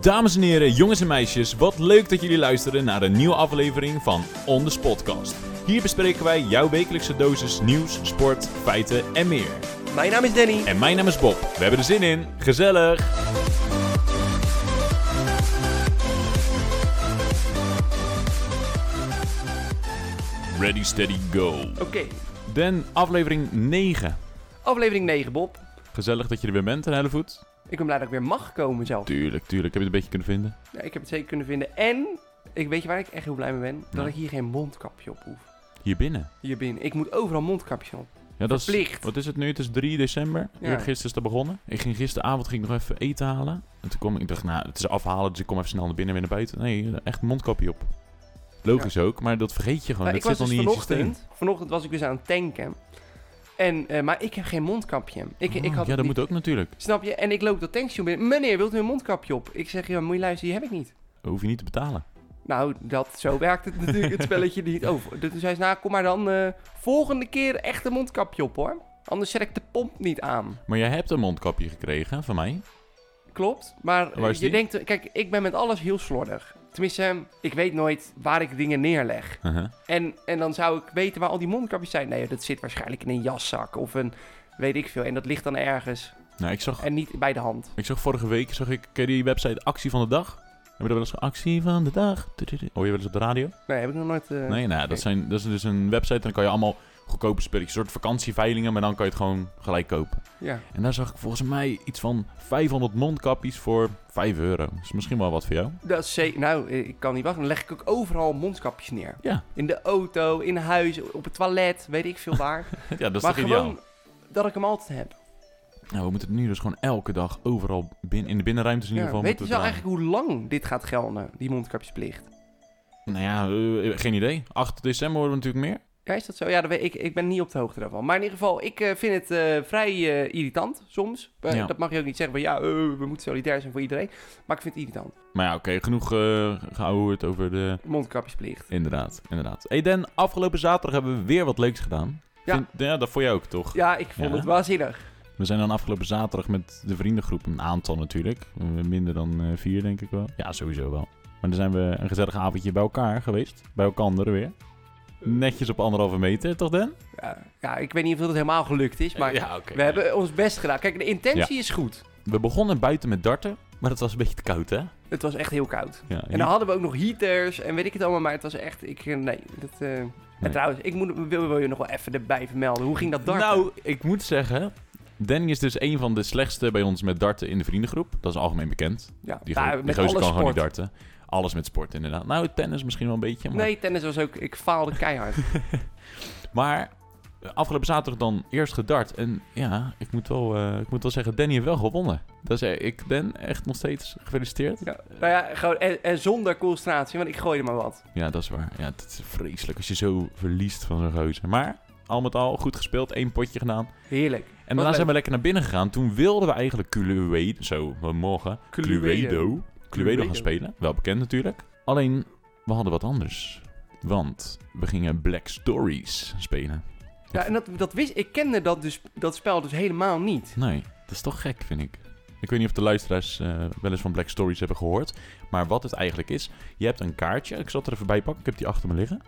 Dames en heren, jongens en meisjes, wat leuk dat jullie luisteren naar een nieuwe aflevering van On The Spotcast. Hier bespreken wij jouw wekelijkse dosis nieuws, sport, feiten en meer. Mijn naam is Danny. En mijn naam is Bob. We hebben er zin in. Gezellig. Ready, steady, go. Oké, Dan aflevering 9. aflevering 9, Bob. Gezellig dat je er weer bent, een hele voet. Ik ben blij dat ik weer mag komen zelf. Tuurlijk, tuurlijk. Heb je het een beetje kunnen vinden? Ja, ik heb het zeker kunnen vinden. En, ik weet je waar ik echt heel blij mee ben? Dat Nou. ik hier geen mondkapje op hoef. Hier binnen. Hier binnen. Ik moet overal mondkapjes op. Ja, dat is, Verplicht. wat is het nu? Het is 3 december. Ja. Ja. Gisteren is dat begonnen. Ik ging gisteravond ging ik nog even eten halen. En toen kwam ik, ik dacht, nou, het is afhalen, dus ik kom even snel naar binnen en weer naar buiten. Nee, echt mondkapje op. Logisch ook, maar dat vergeet je gewoon. Maar dat ik was zit dus al niet in je systeem. vanochtend, vanochtend was ik dus aan het tanken. En, eh, maar ik heb geen mondkapje. Ik, ik Oh, ja, had dat die- moet ook natuurlijk. Snap je? En ik loop dat tankstation binnen. Meneer, wilt u een mondkapje op? Ik zeg, ja, moet je luisteren, die heb ik niet. Dat hoef je niet te betalen. Nou, dat, zo werkt het natuurlijk, het spelletje niet. Oh, toen zei ze, nou, kom maar dan eh, volgende keer echt een mondkapje op, hoor. Anders zet ik de pomp niet aan. Maar jij hebt een mondkapje gekregen van mij. Klopt, maar Waar is je die? denkt... Kijk, ik ben met alles heel slordig. Tenminste, eh, ik weet nooit waar ik dingen neerleg. Uh-huh. En, en dan zou ik weten waar al die mondkapjes zijn. Nee, dat zit waarschijnlijk in een jaszak of een... Weet ik veel. En dat ligt dan ergens. Nou, ik zag, En niet bij de hand. ik zag vorige week, zag ik eh, die website Actie van de Dag. Heb je dat wel eens ge- Actie van de Dag? Tududu. Hoor je wel eens op de radio? Nee, heb ik nog nooit... eh, Nee, nou, dat, zijn, dat is dus een website en dan kan je allemaal goedkope spulletjes, een soort vakantieveilingen, maar dan kan je het gewoon gelijk kopen. Ja. En daar zag ik volgens mij iets van 500 mondkapjes voor 5 euro. Dat is misschien wel wat voor jou. Dat is zeker... Nou, eh, ik kan niet wachten. Dan leg ik ook overal mondkapjes neer. Ja, In de auto, in huis, op het toilet, weet ik veel waar. ja dat is maar toch gewoon ideaal. dat ik hem altijd heb. Nou, we moeten het nu dus gewoon elke dag overal bin, in de binnenruimtes in Ja, ieder geval weet je moeten wel dragen. eigenlijk hoe lang dit gaat gelden, die mondkapjesplicht? Nou ja, eh, geen idee. 8 december worden we natuurlijk meer. Ja, is dat zo? Ja, dat weet ik, ik ben niet op de hoogte daarvan. Maar in ieder geval, ik eh, vind het eh, vrij eh, irritant soms. Eh, Ja. Dat mag je ook niet zeggen van ja, eh, we moeten solidair zijn voor iedereen. Maar ik vind het irritant. Maar ja, oké, genoeg eh gehoord over de... Mondkapjesplicht. Inderdaad, inderdaad. Hey Den, afgelopen zaterdag hebben we weer wat leuks gedaan. Ja. Vind- ja, dat voor jou ook, toch? Ja, ik vond Ja. het waanzinnig. We zijn dan afgelopen zaterdag met de vriendengroep, een aantal natuurlijk. Eh, Minder dan eh, vier, denk ik wel. Ja, sowieso wel. Maar dan zijn we een gezellig avondje bij elkaar geweest. Bij elkaar weer. Netjes op anderhalve meter, toch Den? Ja, ja, ik weet niet of dat helemaal gelukt is, maar ja, we hebben ons best gedaan. Kijk, de intentie is goed. we begonnen buiten met darten, maar dat was een beetje te koud, hè? Het was echt heel koud. Ja, En dan hadden we ook nog heaters en weet ik het allemaal, maar het was echt, ik, eh, nee, dat, eh, En trouwens, ik moet, wil, wil je nog wel even erbij vermelden, hoe ging dat darten? Nou, ik moet zeggen... Danny is dus een van de slechtste bij ons met darten in de vriendengroep. Dat is algemeen bekend. ja, Die, nou, gozer- die met gozer alle kan gewoon sport. niet darten. Alles met sport, inderdaad. Nou, tennis misschien wel een beetje, maar... Nee, tennis was ook, ik faalde keihard. Maar eh, afgelopen zaterdag dan eerst gedart. En ja, ik moet wel, eh, ik moet wel zeggen, Danny heeft wel gewonnen. Dus eh, ik, Dan, echt nog steeds gefeliciteerd. ja, nou ja, gewoon, en, en zonder concentratie, want ik gooide maar wat. Ja, dat is waar. Ja, dat is vreselijk als je zo verliest van zo'n gozer. Maar al met al, goed gespeeld. één potje gedaan. Heerlijk. En daarna zijn leuk. we lekker naar binnen gegaan. Toen wilden we eigenlijk Cluedo... Zo, we mogen. Cluedo. Cluedo gaan spelen. Wel bekend natuurlijk. Alleen, we hadden wat anders. Want we gingen Black Stories spelen. Ja, en dat, dat wist, ik kende dat, dus, dat spel dus helemaal niet. Nee, dat is toch gek, vind ik. Ik weet niet of de luisteraars eh, wel eens van Black Stories hebben gehoord. Maar wat het eigenlijk is, je hebt een kaartje. Ik zal het er even bij pakken. Ik heb die achter me liggen.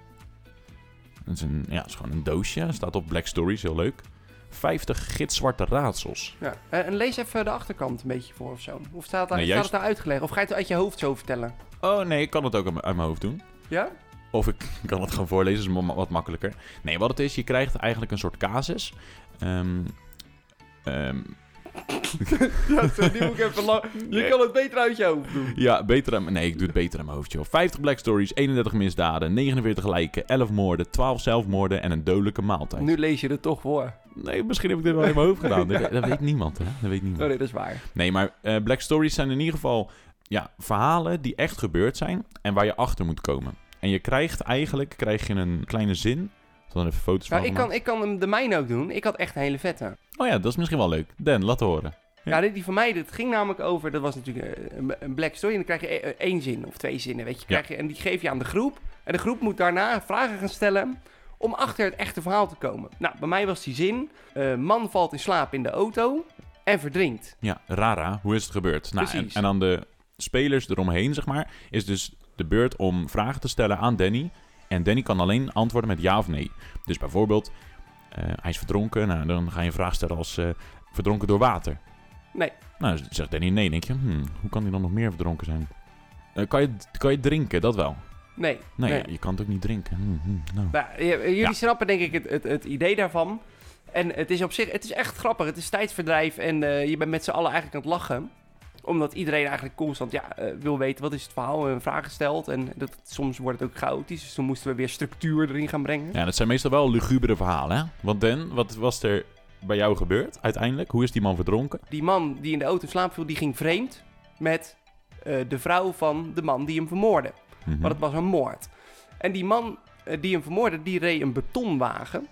Het is, een, ja, het is gewoon een doosje. Er staat op Black Stories, heel leuk. 50 gitzwarte raadsels. Ja. eh, en lees even de achterkant een beetje voor of zo. Of staat, daar, Nee, staat juist- het daar uitgelegd? Of ga je het uit je hoofd zo vertellen? Oh nee, ik kan het ook uit mijn- uit mijn hoofd doen. Ja? Of ik kan het gewoon voorlezen, is ma- wat makkelijker. Nee, wat het is, je krijgt eigenlijk een soort casus. Ehm ehm, ja, zo, eh, die moet ik even lang... Je kan het beter uit je hoofd doen. Ja, beter aan... Nee, ik doe het beter aan mijn hoofd, joh. 50 black stories, 31 misdaden, 49 lijken, 11 moorden, 12 zelfmoorden en een dodelijke maaltijd. Nu lees je het toch voor. Nee, misschien heb ik dit wel in mijn hoofd gedaan. Dat, dat weet niemand, hè? Dat weet Oh, niemand. nee, dat is waar. Nee, maar eh, black stories zijn in ieder geval ja, verhalen die echt gebeurd zijn en waar je achter moet komen. En je krijgt eigenlijk krijg je een kleine zin. Ik zal er even foto's van Nou, ik, maken. kan, ik kan hem de mijne ook doen. Ik had echt een hele vette. Oh ja, dat is misschien wel leuk. Dan, laat horen. Ja. Ja, dit- die van mij, dat ging namelijk over... Dat was natuurlijk eh, een, een black story. En dan krijg je eh, één zin of twee zinnen, weet je. Krijg je en die geef je aan de groep. En de groep moet daarna vragen gaan stellen... om achter het echte verhaal te komen. Nou, bij mij was die zin... eh, man valt in slaap in de auto en verdrinkt. Ja, Rara, hoe is het gebeurd? Nou, en, Precies. en aan de spelers eromheen, zeg maar, is dus de beurt om vragen te stellen aan Danny. En Danny kan alleen antwoorden met ja of nee. Dus bijvoorbeeld, eh, hij is verdronken. Nou, dan ga je een vraag stellen als eh, verdronken door water. Nee. Nou, dan zegt Danny nee. Dan denk je, hmm, hoe kan hij dan nog meer verdronken zijn? Eh, kan, je, kan je drinken? Dat wel. Nee. Nee, nee. Je, je kan het ook niet drinken. Hmm, hmm, nou. Nou, j- jullie Ja. snappen denk ik het, het, het idee daarvan. En het is op zich, het is echt grappig. Het is tijdverdrijf en eh, je bent met z'n allen eigenlijk aan het lachen. Omdat iedereen eigenlijk constant ja, eh, wil weten wat is het verhaal en vragen stelt. En dat, soms wordt het ook chaotisch, dus toen moesten we weer structuur erin gaan brengen. Ja, dat zijn meestal wel lugubere verhalen, hè? Want Dan, wat was er bij jou gebeurd uiteindelijk? Hoe is die man verdronken? Die man die in de auto in slaap viel, die ging vreemd met eh, de vrouw van de man die hem vermoordde. Mhm. Maar het was een moord. En die man eh, die hem vermoordde, die reed een betonwagen.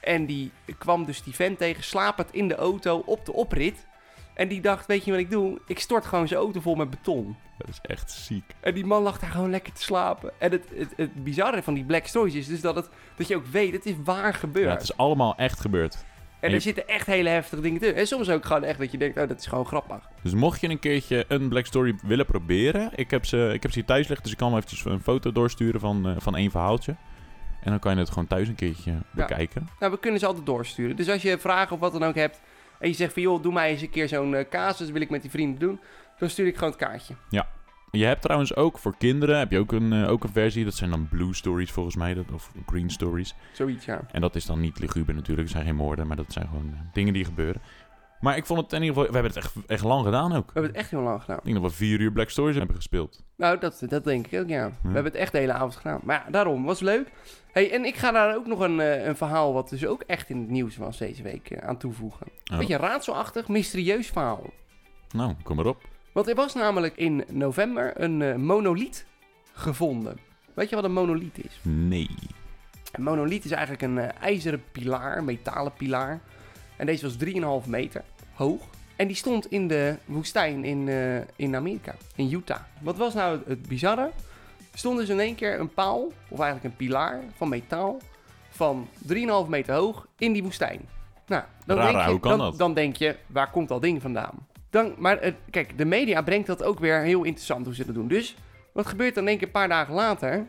En die kwam dus die vent tegen, slapend in de auto op de oprit. En die dacht, weet je wat ik doe? Ik stort gewoon zijn auto vol met beton. Dat is echt ziek. En die man lag daar gewoon lekker te slapen. En het, het, het bizarre van die Black Stories is dus dat, het, dat je ook weet, het is waar gebeurd. Ja, het is allemaal echt gebeurd. En je- er zitten echt hele heftige dingen tussen. En soms ook gewoon echt dat je denkt, oh, dat is gewoon grappig. Dus mocht je een keertje een Black Story willen proberen... Ik heb ze, ik heb ze hier thuis liggen, dus ik kan wel eventjes een foto doorsturen van, eh, van één verhaaltje. En dan kan je het gewoon thuis een keertje bekijken. Nou, we kunnen ze altijd doorsturen. Dus als je vragen of wat dan ook hebt. en je zegt van joh, doe mij eens een keer zo'n eh, casus. wil ik met die vrienden doen. dan stuur ik gewoon het kaartje. Je hebt trouwens ook voor kinderen heb je ook een, eh, ook een versie. Dat zijn dan Blue Stories volgens mij, dat, of Green Stories. Zoiets, ja. En dat is dan niet luguber natuurlijk, het zijn geen moorden, maar dat zijn gewoon eh, dingen die gebeuren. Maar ik vond het in ieder geval, we hebben het echt, echt lang gedaan ook. We hebben het echt heel lang gedaan. Ik denk dat we vier uur Black Stories hebben gespeeld. Nou, dat, dat denk ik ook, ja. We hebben het echt de hele avond gedaan. Maar ja, daarom, was leuk. hey, en ik ga daar ook nog een, eh, een verhaal. wat dus ook echt in het nieuws was deze week. eh, aan toevoegen. Oh. Beetje een raadselachtig, mysterieus verhaal. Nou, kom maar op. Want er was namelijk in november een eh, monoliet gevonden. Weet je wat een monoliet is? Nee. Een monoliet is eigenlijk een eh, ijzeren pilaar, een metalen pilaar. En deze was 3,5 meter hoog. En die stond in de woestijn in, eh, in Amerika, in Utah. Wat was nou het, het bizarre? Er stond dus in één keer een paal, of eigenlijk een pilaar van metaal, van 3,5 meter hoog in die woestijn. Nou, dan, Rara, denk je, hoe kan dan, dat? dan denk je, waar komt dat ding vandaan? Dan, maar het- kijk, de media brengt dat ook weer heel interessant hoe ze dat doen. Dus wat gebeurt dan denk ik een paar dagen later?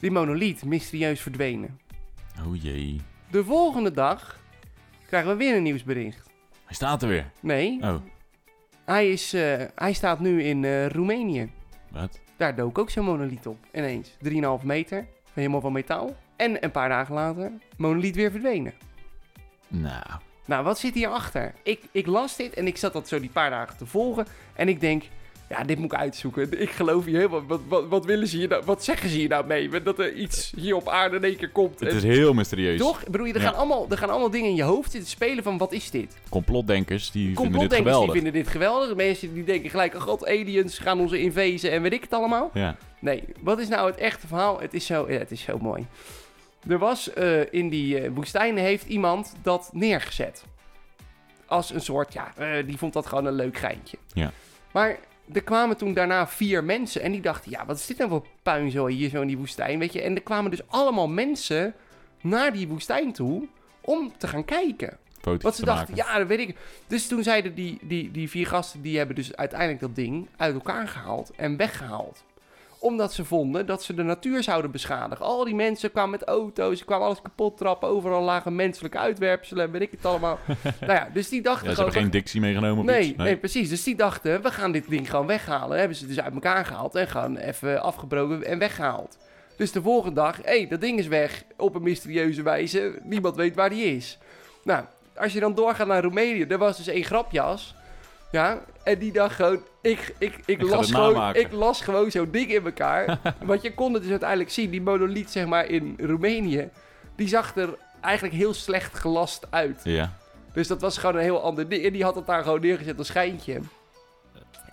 Die monoliet mysterieus verdwenen. Oh jee. De volgende dag krijgen we weer een nieuwsbericht. Hij staat er weer. Nee, Oh, hij, is, eh, hij staat nu in eh, Roemenië. wat? Daar dook ook zo'n monoliet op. Ineens. 3,5 meter. Helemaal van metaal. En een paar dagen later, monoliet weer verdwenen. Nou. Nou, wat zit hierachter? Ik, ik las dit en ik zat dat zo die paar dagen te volgen. En ik denk, ja, dit moet ik uitzoeken. Ik geloof hier helemaal... Wat, wat, wat willen ze hier nou... Wat zeggen ze hier nou mee? Dat er iets hier op aarde in één keer komt. Het En- is heel mysterieus. Toch? Ik bedoel, er, Ja. gaan allemaal, er gaan allemaal dingen in je hoofd zitten spelen van wat is dit? Complotdenkers, die vinden dit Complotdenkers die geweldig. vinden dit geweldig. Mensen die denken gelijk, oh god, aliens gaan onze invezen en weet ik het allemaal. Ja. Nee, wat is nou het echte verhaal? Het is zo, ja, het is zo mooi. Er was eh, in die eh, woestijn heeft iemand dat neergezet. Als een soort, ja, eh, die vond dat gewoon een leuk geintje. Ja. Maar er kwamen toen daarna vier mensen en die dachten, ja, wat is dit nou voor puinzooi hier zo in die woestijn, weet je? En er kwamen dus allemaal mensen naar die woestijn toe om te gaan kijken. Foto's Wat ze te dachten, maken. ja, dat weet ik. Dus toen zeiden die, die, die vier gasten, die hebben dus uiteindelijk dat ding uit elkaar gehaald en weggehaald. Omdat ze vonden dat ze de natuur zouden beschadigen. Al die mensen kwamen met auto's, ze kwamen alles kapot trappen, overal lagen menselijke uitwerpselen, weet ik het allemaal. nou ja, dus die dachten Ja, ze gewoon... hebben geen dictie meegenomen of Nee, iets. nee, precies. Dus die dachten, we gaan dit ding gewoon weghalen. Hebben ze dus uit elkaar gehaald en gewoon even afgebroken en weggehaald. Dus de volgende dag, hé, dat ding is weg. Op een mysterieuze wijze. Niemand weet waar die is. Nou, als je dan doorgaat naar Roemenië, er was dus één grapjas. Ja, en die dacht gewoon, ik, ik, ik, ga las, dit gewoon, namaken. ik las gewoon zo'n ding in elkaar. Want je kon het dus uiteindelijk zien, die monoliet zeg maar in Roemenië, die zag er eigenlijk heel slecht gelast uit. Ja. Dus dat was gewoon een heel ander ding. En die had het daar gewoon neergezet als schijntje.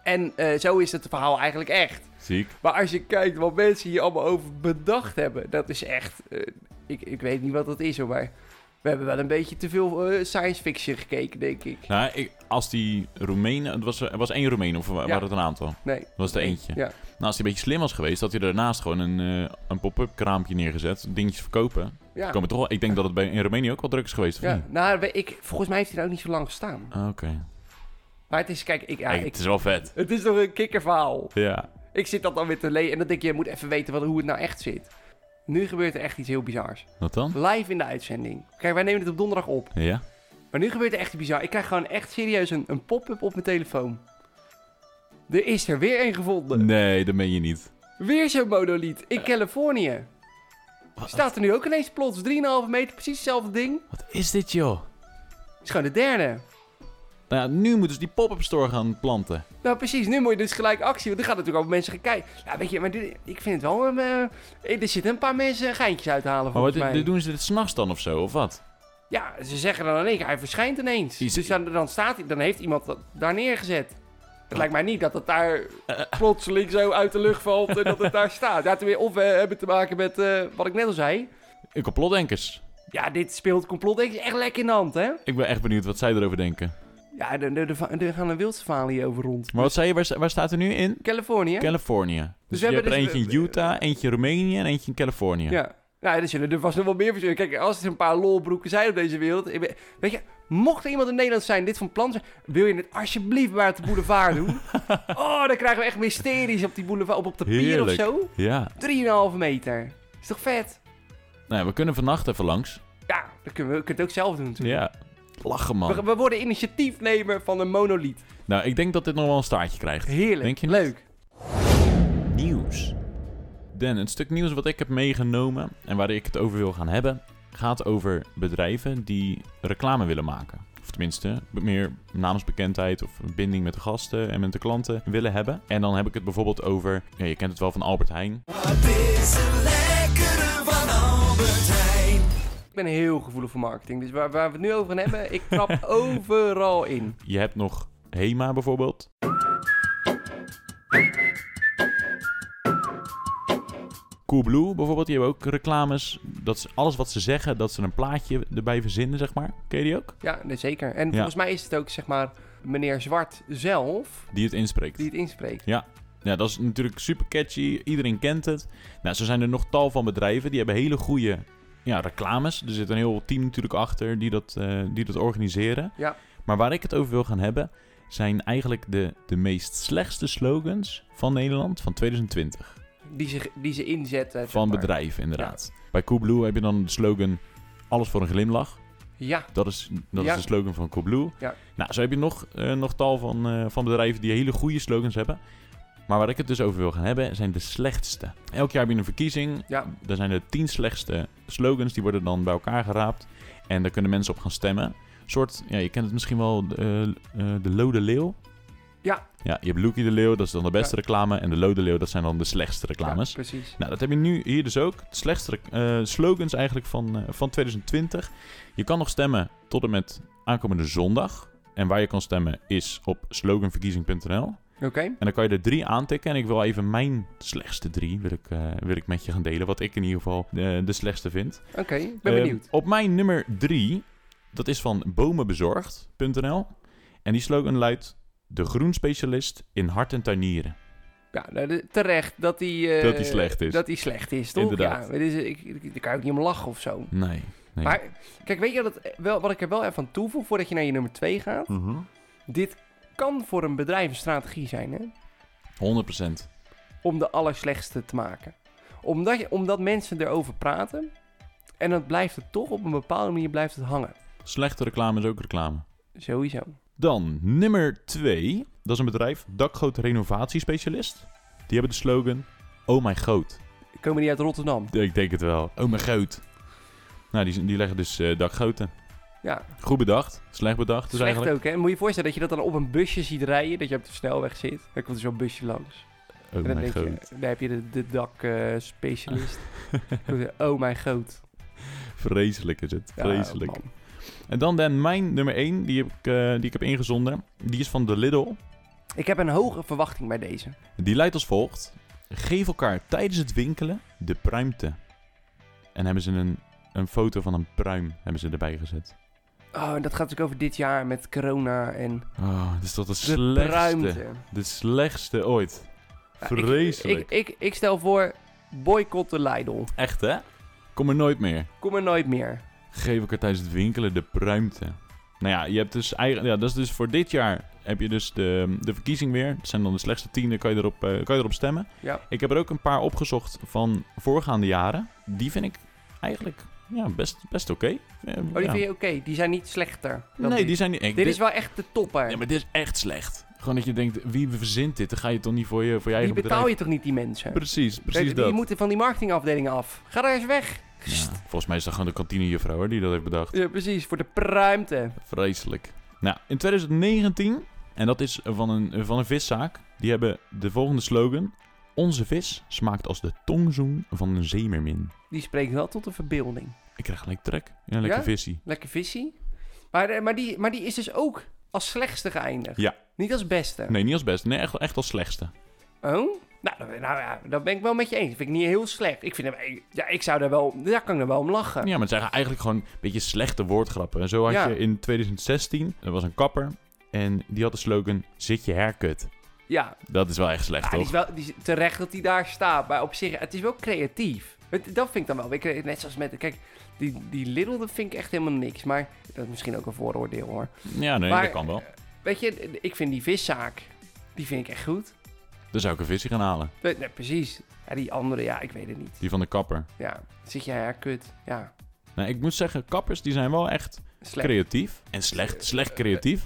En eh, zo is het verhaal eigenlijk echt. Ziek. Maar als je kijkt wat mensen hier allemaal over bedacht hebben, dat is echt. eh, ik, ik weet niet wat dat is hoor, maar we hebben wel een beetje te veel eh, science fiction gekeken, denk ik. Nou, ik, als die Roemenen... Het was, er was één Roemeen of wa- waren het een aantal? Dat Nee. was er eentje. Ja. Nou, als hij een beetje slim was geweest, had hij daarnaast gewoon een, eh, een pop-up kraampje neergezet. Dingetjes verkopen. Ja. Komen toch wel, ik denk dat het bij, in Roemenië ook wel druk is geweest. Of ja. niet? Nou, we- ik, volgens mij heeft hij daar ook niet zo lang gestaan. Ah, Oké. Maar het is, kijk, ik, ja, Hey, ik, het is wel vet. het is toch een kikkerverhaal. Ja. Ik zit dat dan weer te lezen en dan denk je, je moet even weten wat, hoe het nou echt zit. Nu gebeurt er echt iets heel bizars. Wat dan? Live in de uitzending. Kijk, wij nemen het op donderdag op. Ja. Maar nu gebeurt er echt iets bizar. Ik krijg gewoon echt serieus een, een pop-up op mijn telefoon. Er is er weer een gevonden. Nee, dat meen je niet. Weer zo'n monoliet in Californië. Staat er nu ook ineens plots 3,5 meter, precies hetzelfde ding. Wat is dit, joh? Is gewoon de derde. Nou ja, nu moeten ze die pop-up store gaan planten. Nou precies, nu moet je dus gelijk actie, want er gaan natuurlijk ook mensen gaan kijken. Ja, weet je, maar dit, ik vind het wel... een, eh, er zitten een paar mensen geintjes uit te halen Maar wat, volgens mij. dit- doen ze dit s'nachts dan of zo, of wat? Ja, ze zeggen dan in één keer, hij verschijnt ineens. Is- dus dan, dan staat hij, dan heeft iemand dat daar neergezet. Het lijkt mij niet dat het daar plotseling zo uit de lucht valt en dat het daar staat. Ja, tenminste, of we hebben te maken met eh, wat ik net al zei. Eh, Complotdenkers. Ja, dit speelt complot denk ik echt lekker in de hand, hè? Ik ben echt benieuwd wat zij erover denken. Ja, er, er, er- er gaan een wildste verhalen hier over rond. Maar wat zei je, waar, waar staat er nu in? Californië? Californië. Dus, Dus je we hebt er hebben dus- eentje in Utah, eentje in Roemenië en eentje in Californië. ja. Nou, er zullen er vast nog wel meer verzinnen. Kijk, als er een paar lolbroeken zijn op deze wereld... ik ben- Weet je, mocht er iemand in Nederland zijn dit van plan zijn... wil je het alsjeblieft maar te boulevard doen? oh, dan krijgen we echt mysteries op die boulevard, op, op de pier of Heerlijk. zo. Ja. 3,5 meter. Is toch vet? Nou, ja, we kunnen vannacht even langs. Ja, dat kunnen we, we kunnen het ook zelf doen natuurlijk. Ja. Lachen, We, man. we worden initiatiefnemer van een monoliet. Nou, ik denk dat dit nog wel een staartje krijgt. Heerlijk. Denk je niet? Leuk. Nieuws. Dan, een stuk nieuws wat ik heb meegenomen en waar ik het over wil gaan hebben, gaat over bedrijven die reclame willen maken. Of tenminste, meer naamsbekendheid of een binding met de gasten en met de klanten willen hebben. En dan heb ik het bijvoorbeeld over, ja, je kent het wel van Albert Heijn. Wat is een lekkere van Albert Heijn? Ik ben heel gevoelig voor marketing. Dus waar, waar we het nu over gaan hebben, ik trap overal in. Je hebt nog Hema bijvoorbeeld. Coolblue bijvoorbeeld, die hebben ook reclames. Dat ze, alles wat ze zeggen, dat ze een plaatje erbij verzinnen, zeg maar. Ken je die ook? Ja, nee, zeker. En Ja. volgens mij is het ook, zeg maar, meneer Zwart zelf Die het inspreekt. die het inspreekt. Ja, dat is natuurlijk super catchy. Iedereen kent het. Nou, zo zijn er nog tal van bedrijven. Die hebben hele goede ja, reclames. Er zit een heel team natuurlijk achter die dat, eh, die dat organiseren. Ja. Maar waar ik het over wil gaan hebben... zijn eigenlijk de, de meest slechtste slogans van Nederland van 2020. Die ze, die ze inzetten. zeg Van maar. bedrijven, inderdaad. Bij Coolblue heb je dan de slogan... Alles voor een glimlach. Ja, Dat is, dat Ja. is de slogan van Coolblue. Ja. Nou, zo heb je nog, eh, nog tal van, eh, van bedrijven die hele goede slogans hebben. Maar waar ik het dus over wil gaan hebben, zijn de slechtste. Elk jaar heb je een verkiezing. Ja. Daar zijn de tien slechtste slogans. Die worden dan bij elkaar geraapt. En daar kunnen mensen op gaan stemmen. Een soort, ja, je kent het misschien wel, eh, eh, de Lode Leeuw. Ja. Ja, je hebt Loekie de Leeuw, dat is dan de beste reclame. En de Lode Leeuw, dat zijn dan de slechtste reclames. ja, precies. Nou, dat heb je nu hier dus ook. Het slechtste eh, slogans eigenlijk van, eh, van 2020. Je kan nog stemmen tot en met aankomende zondag. En waar je kan stemmen is op sloganverkiezing.nl. Oké. En dan kan je er drie aantikken. En ik wil even mijn slechtste drie wil ik, eh, wil ik met je gaan delen. Wat ik in ieder geval eh, de slechtste vind. Oké, ik ben Ehm, benieuwd. op mijn nummer drie, dat is van bomenbezorgd.nl. En die slogan luidt... De groenspecialist in hart en tuinieren. Ja, nou, de- terecht dat die... eh, Dat die slecht is. Dat die slecht is, toch? Inderdaad. Ja, het is, ik, ik- daar kan je ook niet om lachen of zo. Nee. nee. Maar, kijk, weet je wat, het- eh, wel, wat ik er wel even aan toevoeg voordat je naar je nummer 2 gaat? Mhm. Dit kan voor een bedrijf een strategie zijn, hè? 100%. Om de allerslechtste te maken. Omdat, je, omdat mensen erover praten. En dan blijft het toch op een bepaalde manier blijft het hangen. Slechte reclame is ook reclame. Sowieso. Dan nummer 2. Dat is een bedrijf, dakgoot renovatiespecialist. Die hebben de slogan, oh mijn goot. Komen die uit Rotterdam? Ik denk het wel. Oh mijn goot. Nou, die, die leggen dus eh, dakgoten. Ja, Goed bedacht, slecht bedacht. Dus slecht eigenlijk... ook, hè? Moet je je voorstellen dat je dat dan op een busje ziet rijden. Dat je op de snelweg zit. Dan komt er zo'n busje langs. Oh en dan mijn denk goot. je, daar heb je de, de dak-specialist. oh mijn goot. Vreselijk is het, Ja, vreselijk. man. en dan dan mijn nummer 1, die, heb ik, eh, die ik heb ingezonden. Die is van de Lidl. Ik heb een hoge verwachting bij deze. Die luidt als volgt. Geef elkaar tijdens het winkelen de pruimte. En hebben ze een, een foto van een pruim hebben ze erbij gezet. Oh, en dat gaat natuurlijk over dit jaar met corona en Oh, dat is toch de, de slechtste. ruimte. De slechtste ooit. Ja, ik- Vreselijk. Ik, ik, ik, stel voor, boycott de Lidl. Echt, hè? Kom er nooit meer. Kom er nooit meer. Geef elkaar tijdens het winkelen de pruimte. Nou ja, je hebt dus eigenlijk, ja, dat is dus voor dit jaar heb je dus de, de verkiezing weer. Dat zijn dan de slechtste tien, dan kan je erop, eh, kan je erop stemmen. Ja. Ik heb er ook een paar opgezocht van voorgaande jaren. Die vind ik eigenlijk ja, best, best oké. Eh, Oh, die ja. vind je oké. Die zijn niet slechter. dan Nee, dit. die zijn niet... Ik, Dit is wel echt de topper. Ja, maar dit is echt slecht. Gewoon dat je denkt, wie verzint dit? Dan ga je toch niet voor je, voor je die eigen betaal bedrijf... je toch niet, die mensen? Precies, Die- precies die, dat. moeten van die marketingafdelingen af. Ga daar eens weg. Ja, volgens mij is dat gewoon de kantinejuffrouw hoor, die dat heeft bedacht. Ja, precies. Voor de pruimte. Vreselijk. Nou, in 2019, en dat is van een, van een viszaak, die hebben de volgende slogan. Onze vis smaakt als de tongzoen van een zeemermin. Die spreekt wel tot de verbeelding. Ik krijg gelijk trek. Ja, lekker Ja? visie. Lekker visie. Maar, eh, maar, die, maar die is dus ook als slechtste geëindigd. Ja. Niet als beste. Nee, niet als best. Nee, echt, echt als slechtste. Oh? Nou, nou ja, dat ben ik wel met je eens. Dat vind ik niet heel slecht. Ik vind hem, ik- ja, ik zou daar wel, daar kan ik er wel om lachen. Ja, maar het zijn eigenlijk gewoon een beetje slechte woordgrappen. En zo had Ja. je in 2016, er was een kapper. En die had de slogan, zit je haircut. Ja, Dat is wel echt slecht, ja, die is toch? wel, die is terecht dat hij daar staat. Maar op zich, het is wel creatief. Het, dat vind ik dan wel weer creatief. Net zoals met, kijk, die, die Lidl, dat vind ik echt helemaal niks. Maar dat is misschien ook een vooroordeel hoor. Ja, nee, Maar- dat kan wel. Weet je, ik vind die viszaak, die vind ik echt goed. Dan zou ik een visie gaan halen. Nee, nee, precies. Ja, die andere, ja, ik weet het niet. Die van de kapper. Ja, zit jij haar kut. Ja, Nou, ik moet zeggen, kappers die zijn wel echt slecht. creatief. En slecht, slecht creatief.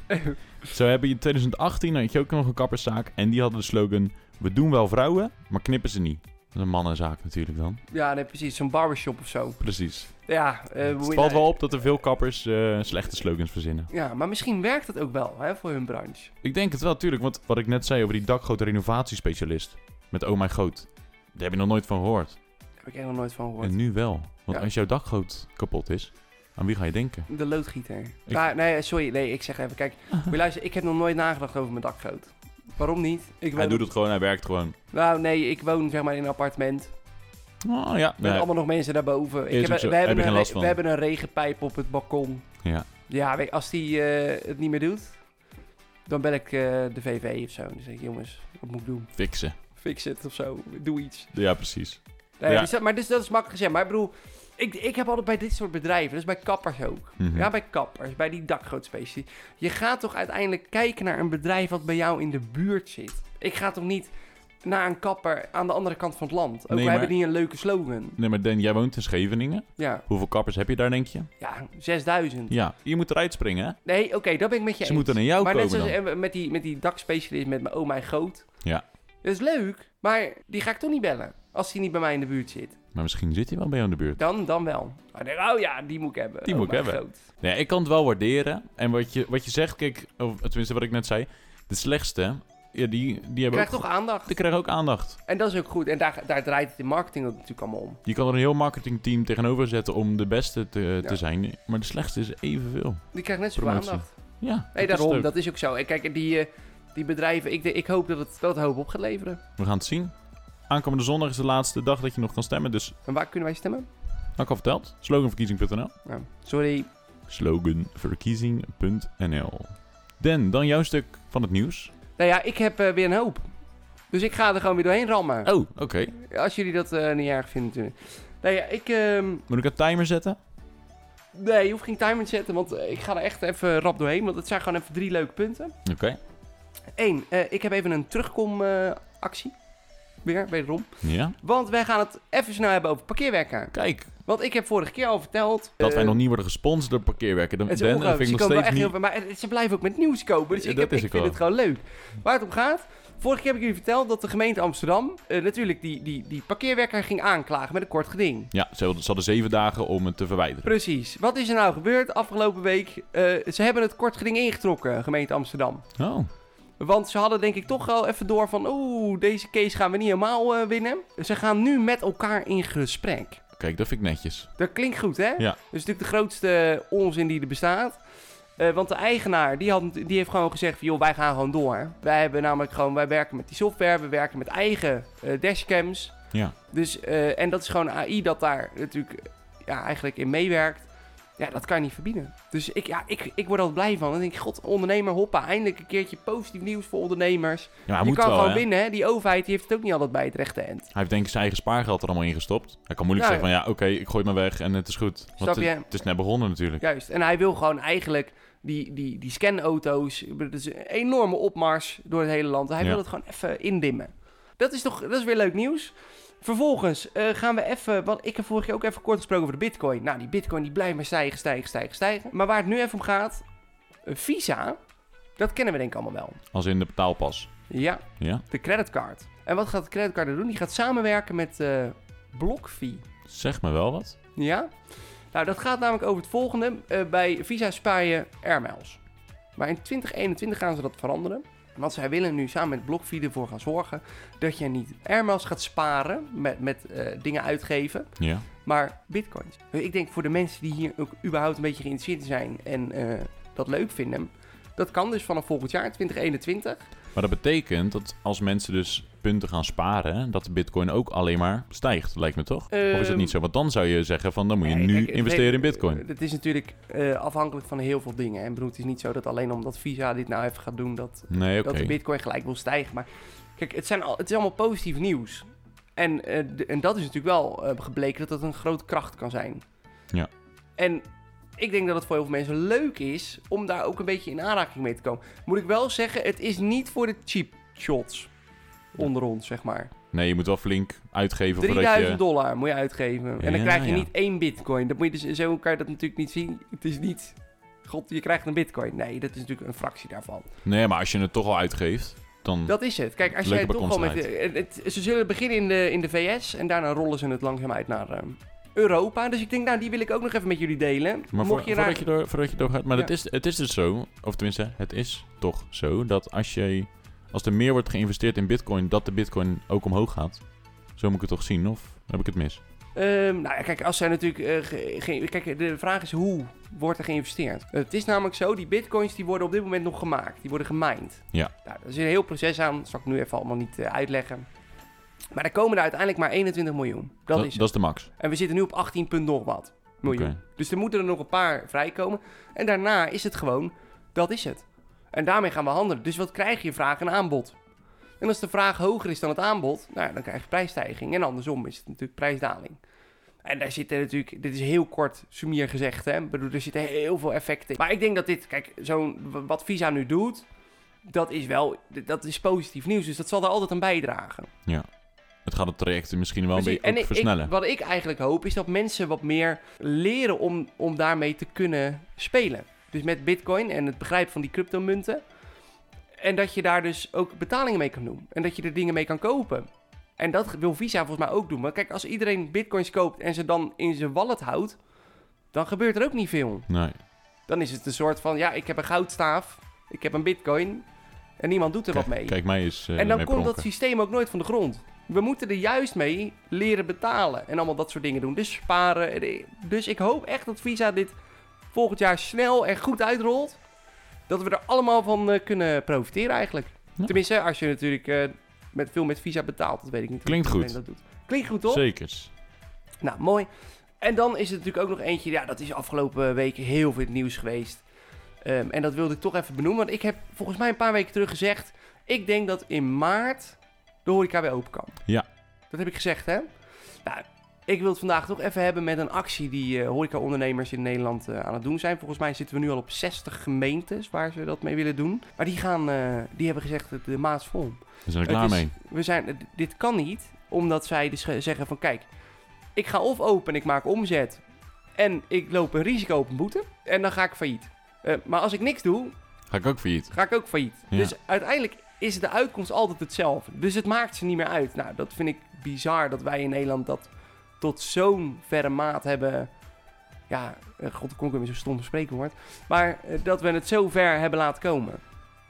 Zo heb je in 2018 had je ook nog een kapperszaak. En die hadden de slogan: We doen wel vrouwen, maar knippen ze niet. Dat is een mannenzaak natuurlijk dan. Ja, nee, precies. Zo'n barbershop of zo. Precies. Ja, eh, hoe het je valt nou- wel op dat er veel kappers eh, slechte slogans verzinnen. Ja, maar misschien werkt dat ook wel hè, voor hun branche. Ik denk het wel, natuurlijk. Want wat ik net zei over die dakgoot renovatiespecialist. Met Oh mijn goot. Daar heb je nog nooit van gehoord. Daar heb ik helemaal nooit van gehoord. En nu wel. Want Ja. als jouw dakgoot kapot is, aan wie ga je denken? De loodgieter. Ah, nee, sorry. Nee, ik zeg even. Kijk, moet je luisteren, ik heb nog nooit nagedacht over mijn dakgoot. Waarom niet? Ik Hij woon- doet het gewoon, hij werkt gewoon. Nou, nee, ik woon zeg maar in een appartement. Oh ja. Met Nee. allemaal nog mensen daarboven. Is Ik ook heb, zo. we, Heb hebben je een, geen last re- van. we hebben een regenpijp op het balkon. Ja. Ja, weet- als die eh, het niet meer doet, dan bel ik eh, de VV of zo. Dan zeg ik, jongens, wat moet ik doen? Fixen. Fix het of zo. Doe iets. Ja, precies. Nee, Ja. dus dat, maar dus, dat is makkelijk gezegd. Maar ik bedoel, ik, ik heb altijd bij dit soort bedrijven, dus bij kappers ook. Mhm. Ja, bij kappers, bij die dakgootspecie. Je gaat toch uiteindelijk kijken naar een bedrijf wat bij jou in de buurt zit. Ik ga toch niet naar een kapper aan de andere kant van het land. Ook Nee, wij maar- hebben niet een leuke slogan. Nee, maar Dan, jij woont in Scheveningen. Ja, Hoeveel kappers heb je daar, denk je? ja 6000. Ja, je moet eruit springen, hè? Nee, oké, dat ben ik met Ze je eens. moeten naar jou maar net komen zoals eh, met die, met die dakspecialist, met mijn oh mijn goot. Ja. Dat is leuk, maar die ga ik toch niet bellen. Als die niet bij mij in de buurt zit. Maar misschien zit hij wel bij jou in de buurt. Dan, dan wel. Maar dan, oh ja, die moet ik hebben. Die Oh moet ik mijn hebben. goot. Nee, ik kan het wel waarderen. En wat je, wat je zegt, kijk, of tenminste wat ik net zei, de slechtste, ja, die, die hebben Krijgt ook, toch aandacht. die krijgen ook aandacht. En dat is ook goed. En daar, daar draait het in marketing ook natuurlijk allemaal om. Je kan er een heel marketingteam tegenover zetten om de beste te, te Ja. zijn, maar de slechtste is evenveel. Die krijgt net zoveel Promotie. aandacht. Ja, dat Nee, is daarom. het ook. Dat is ook zo. En kijk, die, eh, die bedrijven, ik, de- ik hoop dat het, dat het hoop op gaat leveren. We gaan het zien. Aankomende zondag is de laatste dag dat je nog kan stemmen, dus En waar kunnen wij stemmen? had ik al verteld. Sloganverkiezing.nl Nou, sorry. Sloganverkiezing.nl Dan, dan jouw stuk van het nieuws. Nou ja, ik heb eh, weer een hoop. Dus ik ga er gewoon weer doorheen rammen. Oh, oké. Als jullie dat eh, niet erg vinden natuurlijk. Nou ja, ik... ehm, Moet ik een timer zetten? nee, je hoeft geen timer te zetten, want eh, ik ga er echt even rap doorheen. Want het zijn gewoon even drie leuke punten. Oké. Eén, eh, ik heb even een terugkomactie. actie. weer, wederom. Ja. Want wij gaan het even snel hebben over parkeerwerken. Kijk, Want ik heb vorige keer al verteld... dat wij eh, nog niet worden gesponsord door parkeerwerken. Dan, Het is dan ongelooflijk. vind ik Ze nog komen steeds wel echt niet... heel veel- maar het- ze blijven ook met nieuws kopen. Dus Ja, ik, dat heb, ik is ook vind wel. het gewoon leuk. Waar het om gaat... Vorige keer heb ik jullie verteld dat de gemeente Amsterdam... eh, natuurlijk die, die, die parkeerwerker ging aanklagen met een kort geding. Ja, ze hadden, ze hadden zeven dagen om het te verwijderen. Precies. Wat is er nou gebeurd afgelopen week? Eh, ze hebben het kort geding ingetrokken, gemeente Amsterdam. Oh, Want ze hadden denk ik toch wel even door van... Oeh, deze case gaan we niet helemaal eh, winnen. Ze gaan nu met elkaar in gesprek. kijk, dat vind ik netjes. Dat klinkt goed, hè? Ja. Dat is natuurlijk de grootste onzin die er bestaat. Eh, want de eigenaar, die, had, die heeft gewoon gezegd van... joh, wij gaan gewoon door. Wij, hebben namelijk gewoon, wij werken met die software. We werken met eigen eh, dashcams. Ja. eh, Dus, eh, en dat is gewoon AI dat daar natuurlijk ja, eigenlijk in meewerkt. Ja, dat kan je niet verbieden. Dus ik, ja, ik, ik word er altijd blij van. Dan denk ik, god, ondernemer, hoppa, eindelijk een keertje positief nieuws voor ondernemers. Ja, maar hij je moet kan wel, gewoon hè? winnen, hè. Die overheid die heeft het ook niet altijd bij het rechte eind. Hij heeft denk ik zijn eigen spaargeld er allemaal in gestopt. Hij kan moeilijk Ja. zeggen van ja, oké, ik gooi het maar weg en het is goed. Want Snap het, je? het is net begonnen natuurlijk. Juist. En hij wil gewoon eigenlijk die, die, die scanauto's. ik bedoel, Het is een enorme opmars door het hele land. Hij Ja. wil het gewoon even indimmen. Dat is toch dat is weer leuk nieuws. Vervolgens eh, gaan we even. Want ik heb vorige keer ook even kort gesproken over de Bitcoin. Nou, die Bitcoin die blijft maar stijgen, stijgen, stijgen, stijgen. Maar waar het nu even om gaat. eh, Visa. Dat kennen we denk ik allemaal wel. Als in de betaalpas. Ja, Ja, de creditcard. En wat gaat de creditcard doen? Die gaat samenwerken met eh BlockFi. zeg me wel wat. Ja? Nou, dat gaat namelijk over het volgende. Eh, bij Visa spaar je airmiles. Maar in 2021 gaan ze dat veranderen. Want zij willen nu samen met BlockFi ervoor gaan zorgen dat je niet airmiles gaat sparen met, met eh, dingen uitgeven, Ja. maar bitcoins. Eh, Ik denk voor de mensen die hier ook überhaupt een beetje geïnteresseerd in zijn en eh, dat leuk vinden, dat kan dus vanaf volgend jaar 2021. Maar dat betekent dat als mensen dus punten gaan sparen, dat de bitcoin ook alleen maar stijgt, lijkt me toch? of is dat Ehm, niet zo? Want dan zou je zeggen van dan moet je Nee, nu kijk, het investeren in le- bitcoin. Het is natuurlijk eh, afhankelijk van heel veel dingen. En ik bedoel, het is niet zo dat alleen omdat Visa dit nou even gaat doen, dat Nee, oké. dat de bitcoin gelijk wil stijgen. Maar kijk, het, zijn al, het is allemaal positief nieuws. En, eh, de- en dat is natuurlijk wel eh, gebleken dat dat een grote kracht kan zijn. Ja. En ik denk dat het voor heel veel mensen leuk is om daar ook een beetje in aanraking mee te komen. Moet ik wel zeggen, het is niet voor de cheap shots onder ons, zeg maar. Nee, je moet wel flink uitgeven voordat 3000 je... dollar moet je uitgeven. En dan Ja, krijg je ja. niet één bitcoin. Dat moet je dus, zo kan je dat natuurlijk niet zien. Het is niet... God, je krijgt een bitcoin. Nee, dat is natuurlijk een fractie daarvan. Nee, maar als je het toch al uitgeeft, dan... Dat is het. Kijk, als jij Hm. Leuke toch al met. het- het- ze zullen beginnen in de, in de VS en daarna rollen ze het langzaam uit naar ehm, Europa. Dus ik denk, nou, die wil ik ook nog even met jullie delen. Maar Mocht voor, je voordat, daar- je door, voordat je doorgaat... Maar Ja. dat is, het is dus zo, of tenminste, het is toch zo... dat als, je, als er meer wordt geïnvesteerd in bitcoin... dat de bitcoin ook omhoog gaat. Zo moet ik het toch zien, of heb ik het mis? Ehm, nou ja, kijk, als zij natuurlijk. eh, ge- ge- kijk, de vraag is hoe wordt er geïnvesteerd? Het is namelijk zo, die bitcoins die worden op dit moment nog gemaakt. Die worden gemined. Ja. Nou, er is een heel proces aan. Dat zal ik nu even allemaal niet eh, uitleggen. Maar er komen er uiteindelijk maar 21 miljoen. Dat, is het. de max. En we zitten nu op 18 punt nog wat miljoen. Oké. Dus er moeten er nog een paar vrijkomen. En daarna is het gewoon, dat is het. En daarmee gaan we handelen. Dus wat krijg je? Vraag en aanbod. En als de vraag hoger is dan het aanbod, nou, ja, dan krijg je prijsstijging. En andersom is het natuurlijk prijsdaling. En daar zitten natuurlijk, dit is heel kort sumier gezegd, hè. Ik bedoel, er zitten heel veel effecten in. Maar ik denk dat dit, kijk, zo'n, w- wat Visa nu doet, dat is wel, dat is positief nieuws. Dus dat zal er altijd aan bijdragen. Het gaat het traject misschien wel een Precies. beetje ook en ik- ik- versnellen. wat ik eigenlijk hoop is dat mensen wat meer leren om, om daarmee te kunnen spelen. Dus met bitcoin en het begrijpen van die cryptomunten. En dat je daar dus ook betalingen mee kan doen. En dat je er dingen mee kan kopen. En dat wil Visa volgens mij ook doen. Maar kijk, als iedereen bitcoins koopt en ze dan in zijn wallet houdt, dan gebeurt er ook niet veel. Nee. Dan is het een soort van, ja, ik heb een goudstaaf, ik heb een bitcoin en niemand doet er Kijk, wat mee. kijk, mij is eh, En dan mee komt dat pronken. systeem ook nooit van de grond. We moeten er juist mee leren betalen en allemaal dat soort dingen doen. Dus sparen. En, eh, Dus ik hoop echt dat Visa dit volgend jaar snel en goed uitrolt. Dat we er allemaal van eh, kunnen profiteren eigenlijk. Ja. Tenminste, als je natuurlijk eh, met, veel met Visa betaalt. Dat weet ik niet. hoe Klinkt iedereen goed. Dat doet. Klinkt goed, toch? Zekers. Nou, mooi. En dan is er natuurlijk ook nog eentje. Ja, dat is afgelopen weken heel veel in het nieuws geweest. Ehm, en dat wilde ik toch even benoemen. Want ik heb volgens mij een paar weken terug gezegd. Ik denk dat in maart de horeca weer open kan. Ja. Dat heb ik gezegd, hè? Nou, ik wil het vandaag toch even hebben met een actie die eh, horecaondernemers in Nederland eh, aan het doen zijn. Volgens mij zitten we nu al op 60 gemeentes waar ze dat mee willen doen. Maar die, gaan, eh, die hebben gezegd dat de maat is vol. We zijn er klaar Het is- mee. We zijn, d- dit kan niet, omdat zij dus ge- zeggen van kijk, ik ga of open, ik maak omzet en ik loop een risico op een boete en dan ga ik failliet. Eh, maar als ik niks doe, Ga ik ook failliet. ga ik ook failliet. Ja. Dus uiteindelijk is de uitkomst altijd hetzelfde. Dus het maakt ze niet meer uit. Nou, dat vind ik bizar dat wij in Nederland dat tot zo'n verre maat hebben. Ja, eh, god, ik kon ik weer met zo'n stom spreekwoord. Maar eh, dat we het zo ver hebben laten komen.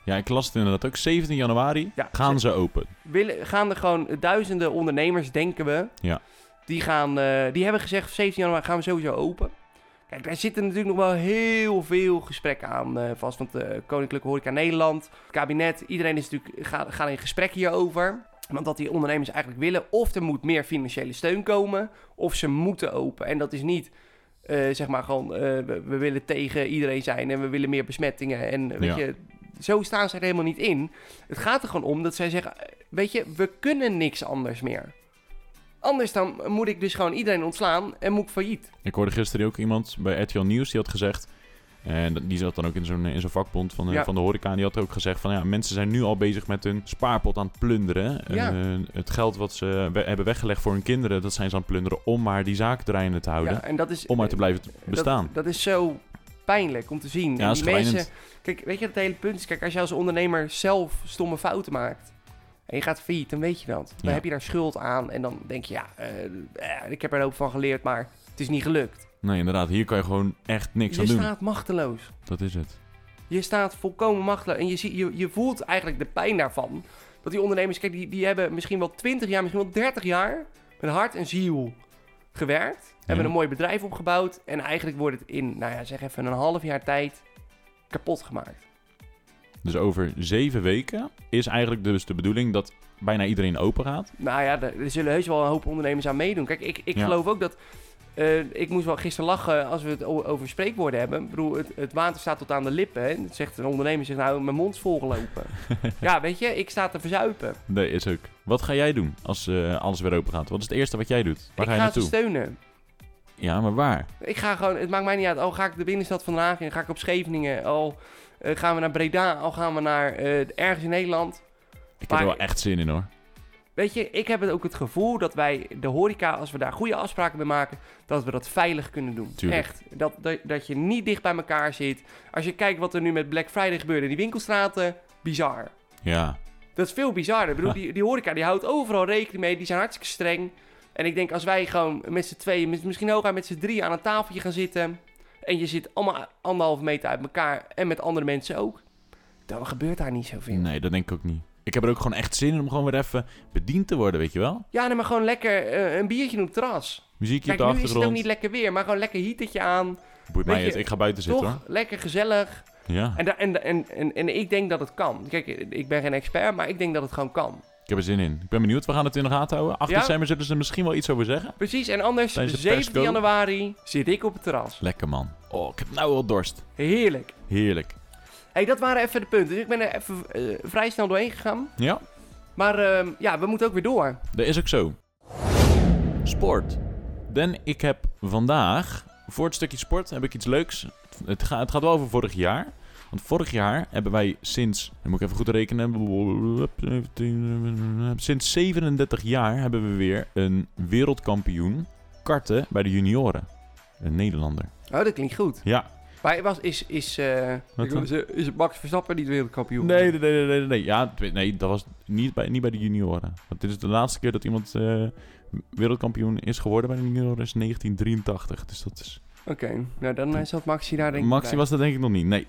Ja, ik las het inderdaad ook. 17 januari Ja, gaan ze open. willen, gaan er gewoon duizenden ondernemers, denken we. Ja. Die, gaan, eh, die hebben gezegd, 17 januari gaan we sowieso open. Kijk, daar zitten natuurlijk nog wel heel veel gesprekken aan eh, vast. Want eh, Koninklijke Horeca Nederland, het kabinet, iedereen is natuurlijk, gaat, gaat in gesprek hierover. Want wat die ondernemers eigenlijk willen, of er moet meer financiële steun komen, of ze moeten open. En dat is niet eh, zeg maar gewoon, eh, we, we willen tegen iedereen zijn en we willen meer besmettingen. En eh, weet Ja. je, zo staan ze er helemaal niet in. Het gaat er gewoon om dat zij zeggen, eh, weet je, we kunnen niks anders meer. Anders dan moet ik dus gewoon iedereen ontslaan en moet ik failliet. Ik hoorde gisteren ook iemand bij RTL Nieuws die had gezegd... En dat- die zat dan ook in zo'n, in zo'n vakbond van, eh, Ja. van de horeca. En die had ook gezegd van ja, mensen zijn nu al bezig met hun spaarpot aan het plunderen. Ja. Eh, het geld wat ze we- hebben weggelegd voor hun kinderen, dat zijn ze aan het plunderen om maar die zaak draaiende te houden. Ja, en dat is, Om maar te eh, blijven t- bestaan. Dat, dat is zo pijnlijk om te zien. Ja, En dat is schrijnend. Kijk, weet je, het hele punt is... Kijk, als je als ondernemer zelf stomme fouten maakt... en je gaat failliet, dan weet je dat. Dan Ja. heb je daar schuld aan. En dan denk je, ja, eh, eh, ik heb er een hoop van geleerd... maar het is niet gelukt. Nee, inderdaad. Hier kan je gewoon echt niks je aan doen. staat machteloos. Dat is het. Je staat volkomen machteloos. En je, zie, je, je voelt eigenlijk de pijn daarvan. Dat die ondernemers, kijk, die, die hebben misschien wel 20 jaar, misschien wel 30 jaar met hart en ziel gewerkt. Hebben een mooi bedrijf opgebouwd. En eigenlijk wordt het in, nou ja, zeg even een half jaar tijd kapot gemaakt. Dus over zeven weken is eigenlijk dus de bedoeling dat bijna iedereen open gaat. Nou ja, er, er zullen heus wel een hoop ondernemers aan meedoen. Kijk, ik, ik Ja. geloof ook dat. eh, ik moest wel gisteren lachen als we het o- over spreekwoorden hebben. Ik bedoel, het, het water staat tot aan de lippen. Hè? En Zegt een ondernemer zegt nou, mijn mond is volgelopen. ja, weet je, ik sta te verzuipen. Nee, is ook. Wat ga jij doen als eh, alles weer open gaat? Wat is het eerste wat jij doet? Waar ik ga je ga dus ze naartoe? steunen. Ja, maar waar? Ik ga gewoon, het maakt mij niet uit. Al ga ik de binnenstad van Den Haag in, ga ik op Scheveningen, al eh, gaan we naar Breda, al gaan we naar eh, ergens in Nederland. Ik heb Maar- er wel echt zin in hoor. Weet je, ik heb het ook het gevoel dat wij de horeca, als we daar goede afspraken mee maken, dat we dat veilig kunnen doen. Tuurlijk. Echt. Dat, dat, dat je niet dicht bij elkaar zit. Als je kijkt wat er nu met Black Friday gebeurde in die winkelstraten, bizar. Ja, Dat is veel bizarder. Ik bedoel, die, die horeca die houdt overal rekening mee. Die zijn hartstikke streng. En ik denk als wij gewoon met z'n tweeën, mis- misschien hooguit met z'n drieën aan een tafeltje gaan zitten. En je zit allemaal anderhalve meter uit elkaar en met andere mensen ook. Dan gebeurt daar niet zoveel. nee, dat denk ik ook niet. Ik heb er ook gewoon echt zin in om gewoon weer even bediend te worden, weet je wel? Ja, nee, maar gewoon lekker eh, een biertje op het terras. Muziekje Kijk, op de nu is het ook achtergrond. niet lekker weer, maar gewoon lekker hietertje aan. Boeit Weet mij je, het, ik ga buiten Toch? zitten hoor. Lekker gezellig. Ja, En, daar- en, en, en, en ik denk dat het kan. Kijk, ik ben geen expert, maar ik denk dat het gewoon kan. ik heb er zin in. Ik ben benieuwd, we gaan het in de gaten houden. 8 Ja? december zullen ze er misschien wel iets over zeggen. Precies, en anders, Tijdens de 17 persco. januari zit ik op het terras. Lekker man. Oh, ik heb nou wel dorst. Heerlijk. Heerlijk. hey, dat waren even de punten. Dus ik ben er even eh, vrij snel doorheen gegaan. Ja, Maar ehm, ja, we moeten ook weer door. Dat is ook zo. Sport. Dan, ik heb vandaag, voor het stukje sport, heb ik iets leuks. Het, ga- het gaat wel over vorig jaar. Want vorig jaar hebben wij sinds, dan moet ik even goed rekenen, sinds 37 jaar hebben we weer een wereldkampioen karten bij de junioren. Een Nederlander. Oh, dat klinkt goed. Ja. Maar was, is, is, eh, Wat ik wil- dan? is, is het Max Verstappen niet wereldkampioen? Nee, nee, nee, nee, nee, nee. Ja, tw- nee, dat was niet bij, niet bij de junioren. Want dit is de laatste keer dat iemand eh, wereldkampioen is geworden bij de junioren is 1983. Dus dat is... Oké, nou dan eh, zat Maxi daar denk ik Maxi bij. was dat denk ik nog niet. Nee.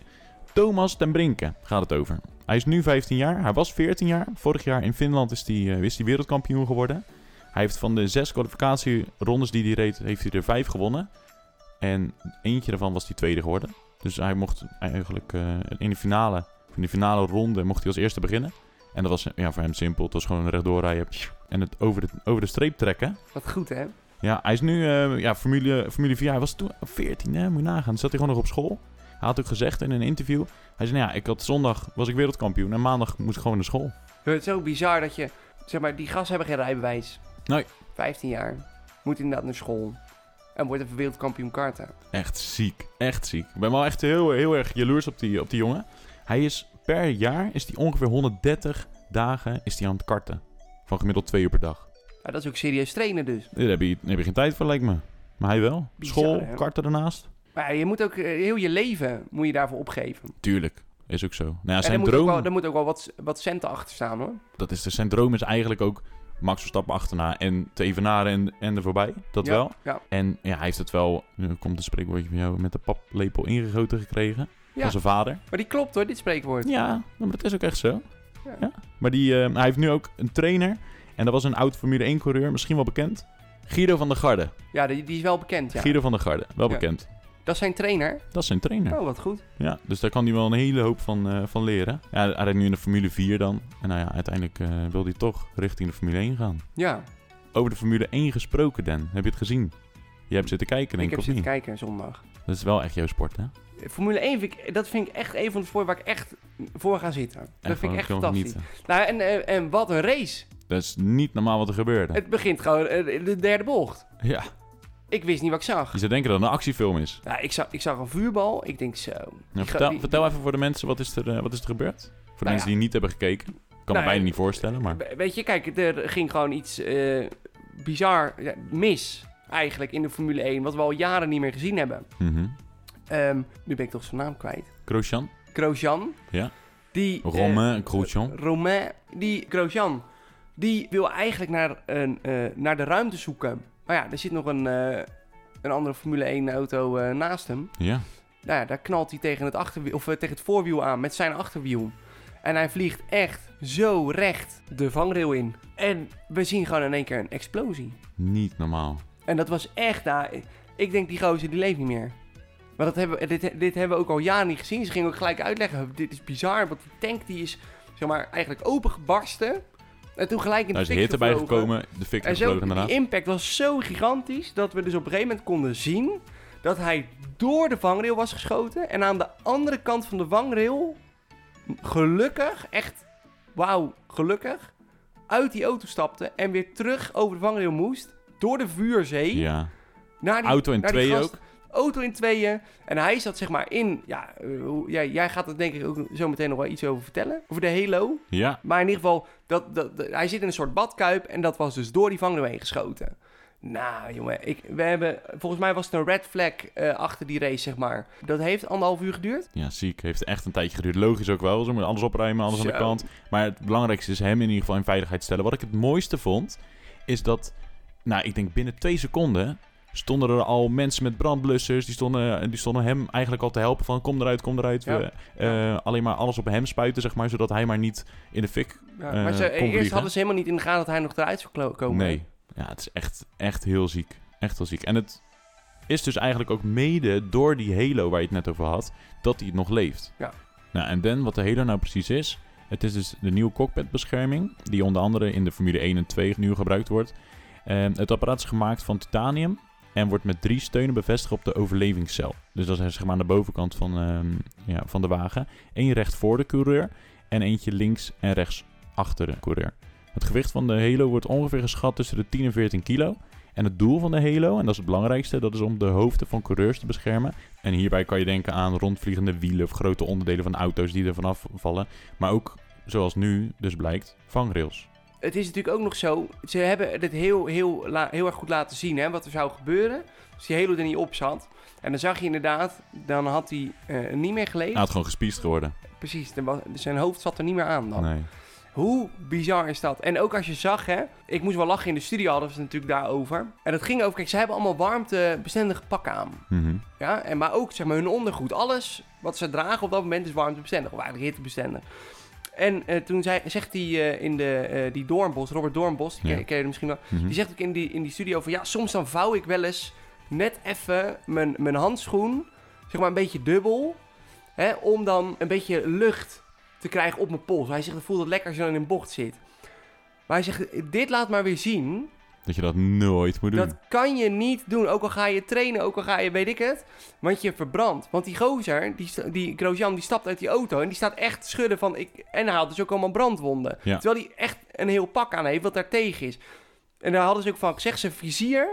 Thomas ten Brinke gaat het over. Hij is nu 15 jaar. Hij was 14 jaar. Vorig jaar in Finland is hij, eh, is hij wereldkampioen geworden. Hij heeft van de zes kwalificatierondes die hij reed, heeft hij er vijf gewonnen. En eentje daarvan was hij tweede geworden. Dus hij mocht eigenlijk eh, in, de finale, in de finale ronde mocht hij als eerste beginnen. En dat was ja, voor hem simpel. Het was gewoon rechtdoor rijden en het over de, over de streep trekken. Wat goed, hè? Ja, hij is nu eh, ja, Formule, Formule 4. Hij was toen 14, hè? moet je nagaan. Toen zat hij gewoon nog op school. Hij had ook gezegd in een interview. Hij zei, nou ja, ik had zondag was ik wereldkampioen en maandag moest ik gewoon naar school. Het is zo bizar dat je... Zeg maar, die gasten hebben geen rijbewijs. Nee. 15 jaar. Moet inderdaad naar school. En wordt even wereldkampioen karten. Echt ziek, echt ziek. Ik ben wel echt heel, heel erg jaloers op die, op die jongen. Hij is per jaar, is die ongeveer 130 dagen is die aan het karten. Van gemiddeld twee uur per dag. Nou, dat is ook serieus trainen dus. Daar heb je, daar heb je geen tijd voor, lijkt me. Maar hij wel. Bizar, school, hè? karten daarnaast. Maar ja, je moet ook eh, heel je leven moet je daarvoor opgeven. Tuurlijk, is ook zo. Nou ja, en zijn er moet, ook droom... wel, er moet ook wel wat, wat centen achter staan, hoor. dat is, dus zijn droom is eigenlijk ook Max Verstappen achterna en te evenaren en, en er voorbij. Dat Ja, wel. ja. En ja, hij heeft het wel, nu komt een spreekwoordje van jou, met de paplepel ingegoten gekregen. Ja. Van zijn vader. Maar die klopt, hoor, dit spreekwoord. Ja, maar dat is ook echt zo. Ja. Ja. Maar die, eh, hij heeft nu ook een trainer. En dat was een oud Formule 1 coureur, misschien wel bekend. Guido van der Garde. Ja, die, die is wel bekend, ja. Guido van der Garde, wel Ja. bekend. Dat is zijn trainer. Dat is zijn trainer. Oh, wat goed. Ja, dus daar kan hij wel een hele hoop van, eh, van leren. Ja, hij rijdt nu in de Formule 4 dan. En nou ja, uiteindelijk eh, wil hij toch richting de Formule 1 gaan. Ja. Over de Formule 1 gesproken, Dan. Heb je het gezien? Je hebt zitten kijken, ik denk ik, heb of zitten niet? kijken zondag. Eh, Dat is wel echt jouw sport, hè? Formule 1 vind ik, dat vind ik echt een van de sporten waar ik echt voor ga zitten. dat vind gewoon ik echt veel fantastisch. genieten. Nou, en, eh, en wat een race. Dat is niet normaal wat er gebeurde. Het begint gewoon eh, de derde bocht. Ja, Ik wist niet wat ik zag. je zou denken dat het een actiefilm is. Nou, ik, zag ik zag een vuurbal. Ik denk zo. Nou, Die ga- vertel, die- Nou vertel even voor de mensen, wat is er, eh, wat is er gebeurd? Voor de ja. mensen die niet hebben gekeken. Ik kan Nou, me bijna eh, niet voorstellen, maar... We- Weet je, kijk, er ging gewoon iets eh, bizar ja, mis eigenlijk in de Formule 1. Wat we al jaren niet meer gezien hebben. Mhm. Ehm, nu ben ik toch zijn naam kwijt. Grosjean? Grosjean. Ja. Die, eh, Romain Grosjean? Romain, die Grosjean, die wil eigenlijk naar, een, eh, naar de ruimte zoeken. Maar ja, er zit nog een, eh, een andere Formule 1 auto eh, naast hem. Ja. Nou ja, daar knalt hij tegen het, achterwiel, of, eh, tegen het voorwiel aan met zijn achterwiel. En hij vliegt echt zo recht de vangrail in. En we zien gewoon in één keer een explosie. Niet normaal. En dat was echt, nou, ik denk die gozer die leeft niet meer. Maar dat hebben, we- dit, dit hebben we ook al jaren niet gezien. Ze gingen ook gelijk uitleggen, dit is bizar, want die tank die is zeg maar eigenlijk opengebarsten. En toen gelijk in de Daar is fik hitte bij gevlogen. gekomen, de fik En zo, gevlogen die inderdaad. impact was zo gigantisch dat we dus op een gegeven moment konden zien dat hij door de vangrail was geschoten. En aan de andere kant van de vangrail, gelukkig, echt wauw, gelukkig, uit die auto stapte en weer terug over de vangrail moest. Door de vuurzee. Ja. Naar die, Auto in naar die tweeën gast. ook. Auto in tweeën. En hij zat zeg maar in... Ja, eh, hoe- jij, jij gaat er denk ik ook zo meteen nog wel iets over vertellen. Over de Halo. Ja. Maar in ieder geval, dat, dat, dat- hij zit in een soort badkuip. En dat was dus door die vangrail heen geschoten. Nou, jongen. Ik, we hebben, volgens mij was het een red flag eh, achter die race, zeg maar. Dat heeft anderhalf uur geduurd. Ja, ziek. Heeft echt een tijdje geduurd. Logisch ook wel. Ze moeten alles opruimen, alles aan de Zo. kant. Maar het belangrijkste is hem in ieder geval in veiligheid stellen. Wat ik het mooiste vond, is dat... Nou, ik denk binnen twee seconden stonden er al mensen met brandblussers. Die stonden, eh, die stonden hem eigenlijk al te helpen van kom eruit, kom eruit. Ja. We, eh, alleen maar alles op hem spuiten, zeg maar. Zodat hij maar niet in de fik... Ja, Eh, maar ze, kom eerst vliegen. hadden ze helemaal niet in de gaten dat hij nog eruit zou klo- komen. Nee. Ja, het is echt, echt heel ziek. Echt heel ziek. En het is dus eigenlijk ook mede door die Halo waar je het net over had, dat hij nog leeft. Ja. Nou, en dan wat de Halo nou precies is. Het is dus de nieuwe cockpitbescherming, die onder andere in de Formule 1 en 2 nu gebruikt wordt. Ehm, het apparaat is gemaakt van titanium en wordt met drie steunen bevestigd op de overlevingscel. Dus dat is zeg maar aan de bovenkant van, ehm, ja, van de wagen. Eén recht voor de coureur en eentje links en rechts achter de coureur. Het gewicht van de Halo wordt ongeveer geschat tussen de 10 en 14 kilo. En het doel van de Halo, en dat is het belangrijkste, dat is om de hoofden van coureurs te beschermen. En hierbij kan je denken aan rondvliegende wielen of grote onderdelen van auto's die er vanaf vallen. Maar ook, zoals nu dus blijkt, vangrails. Nou, Het is natuurlijk ook nog zo, ze hebben het heel, heel, la- heel erg goed laten zien hè, wat er zou gebeuren. Als die Halo er niet op zat. En dan zag je inderdaad, dan had hij eh, niet meer geleefd. Hij had gewoon gespiest geworden. Precies, dan was- zijn hoofd zat er niet meer aan dan. Nee. Hoe bizar is dat? En ook als je zag, hè, ik moest wel lachen in de studio, hadden ze het natuurlijk daarover. En dat ging over, kijk, ze hebben allemaal warmtebestendige pakken aan. Mhm. Ja? En, maar ook zeg maar, hun ondergoed, alles wat ze dragen op dat moment is warmtebestendig, of eigenlijk hittebestendig. En eh, toen zei, zegt die, eh, in de, eh, die Doornbos, Robert Doornbos, die Ja. ken, ken je hem misschien wel, mhm. die zegt ook in die, in die studio van ja, soms dan vouw ik wel eens net even mijn, mijn handschoen, zeg maar een beetje dubbel, hè, om dan een beetje lucht te krijgen op mijn pols. Hij zegt, voelt het lekker als je dan in een bocht zit. Maar hij zegt, dit laat maar weer zien, Dat je dat nooit moet doen. dat kan je niet doen. Ook al ga je trainen, ook al ga je, weet ik het, want je verbrandt. Want die gozer, die, sta- die Grosjean, die stapt uit die auto en die staat echt te schudden van, ik, en hij had dus ook allemaal brandwonden. Ja. Terwijl hij echt een heel pak aan heeft wat daar tegen is. En daar hadden ze ook van gezegd, zijn vizier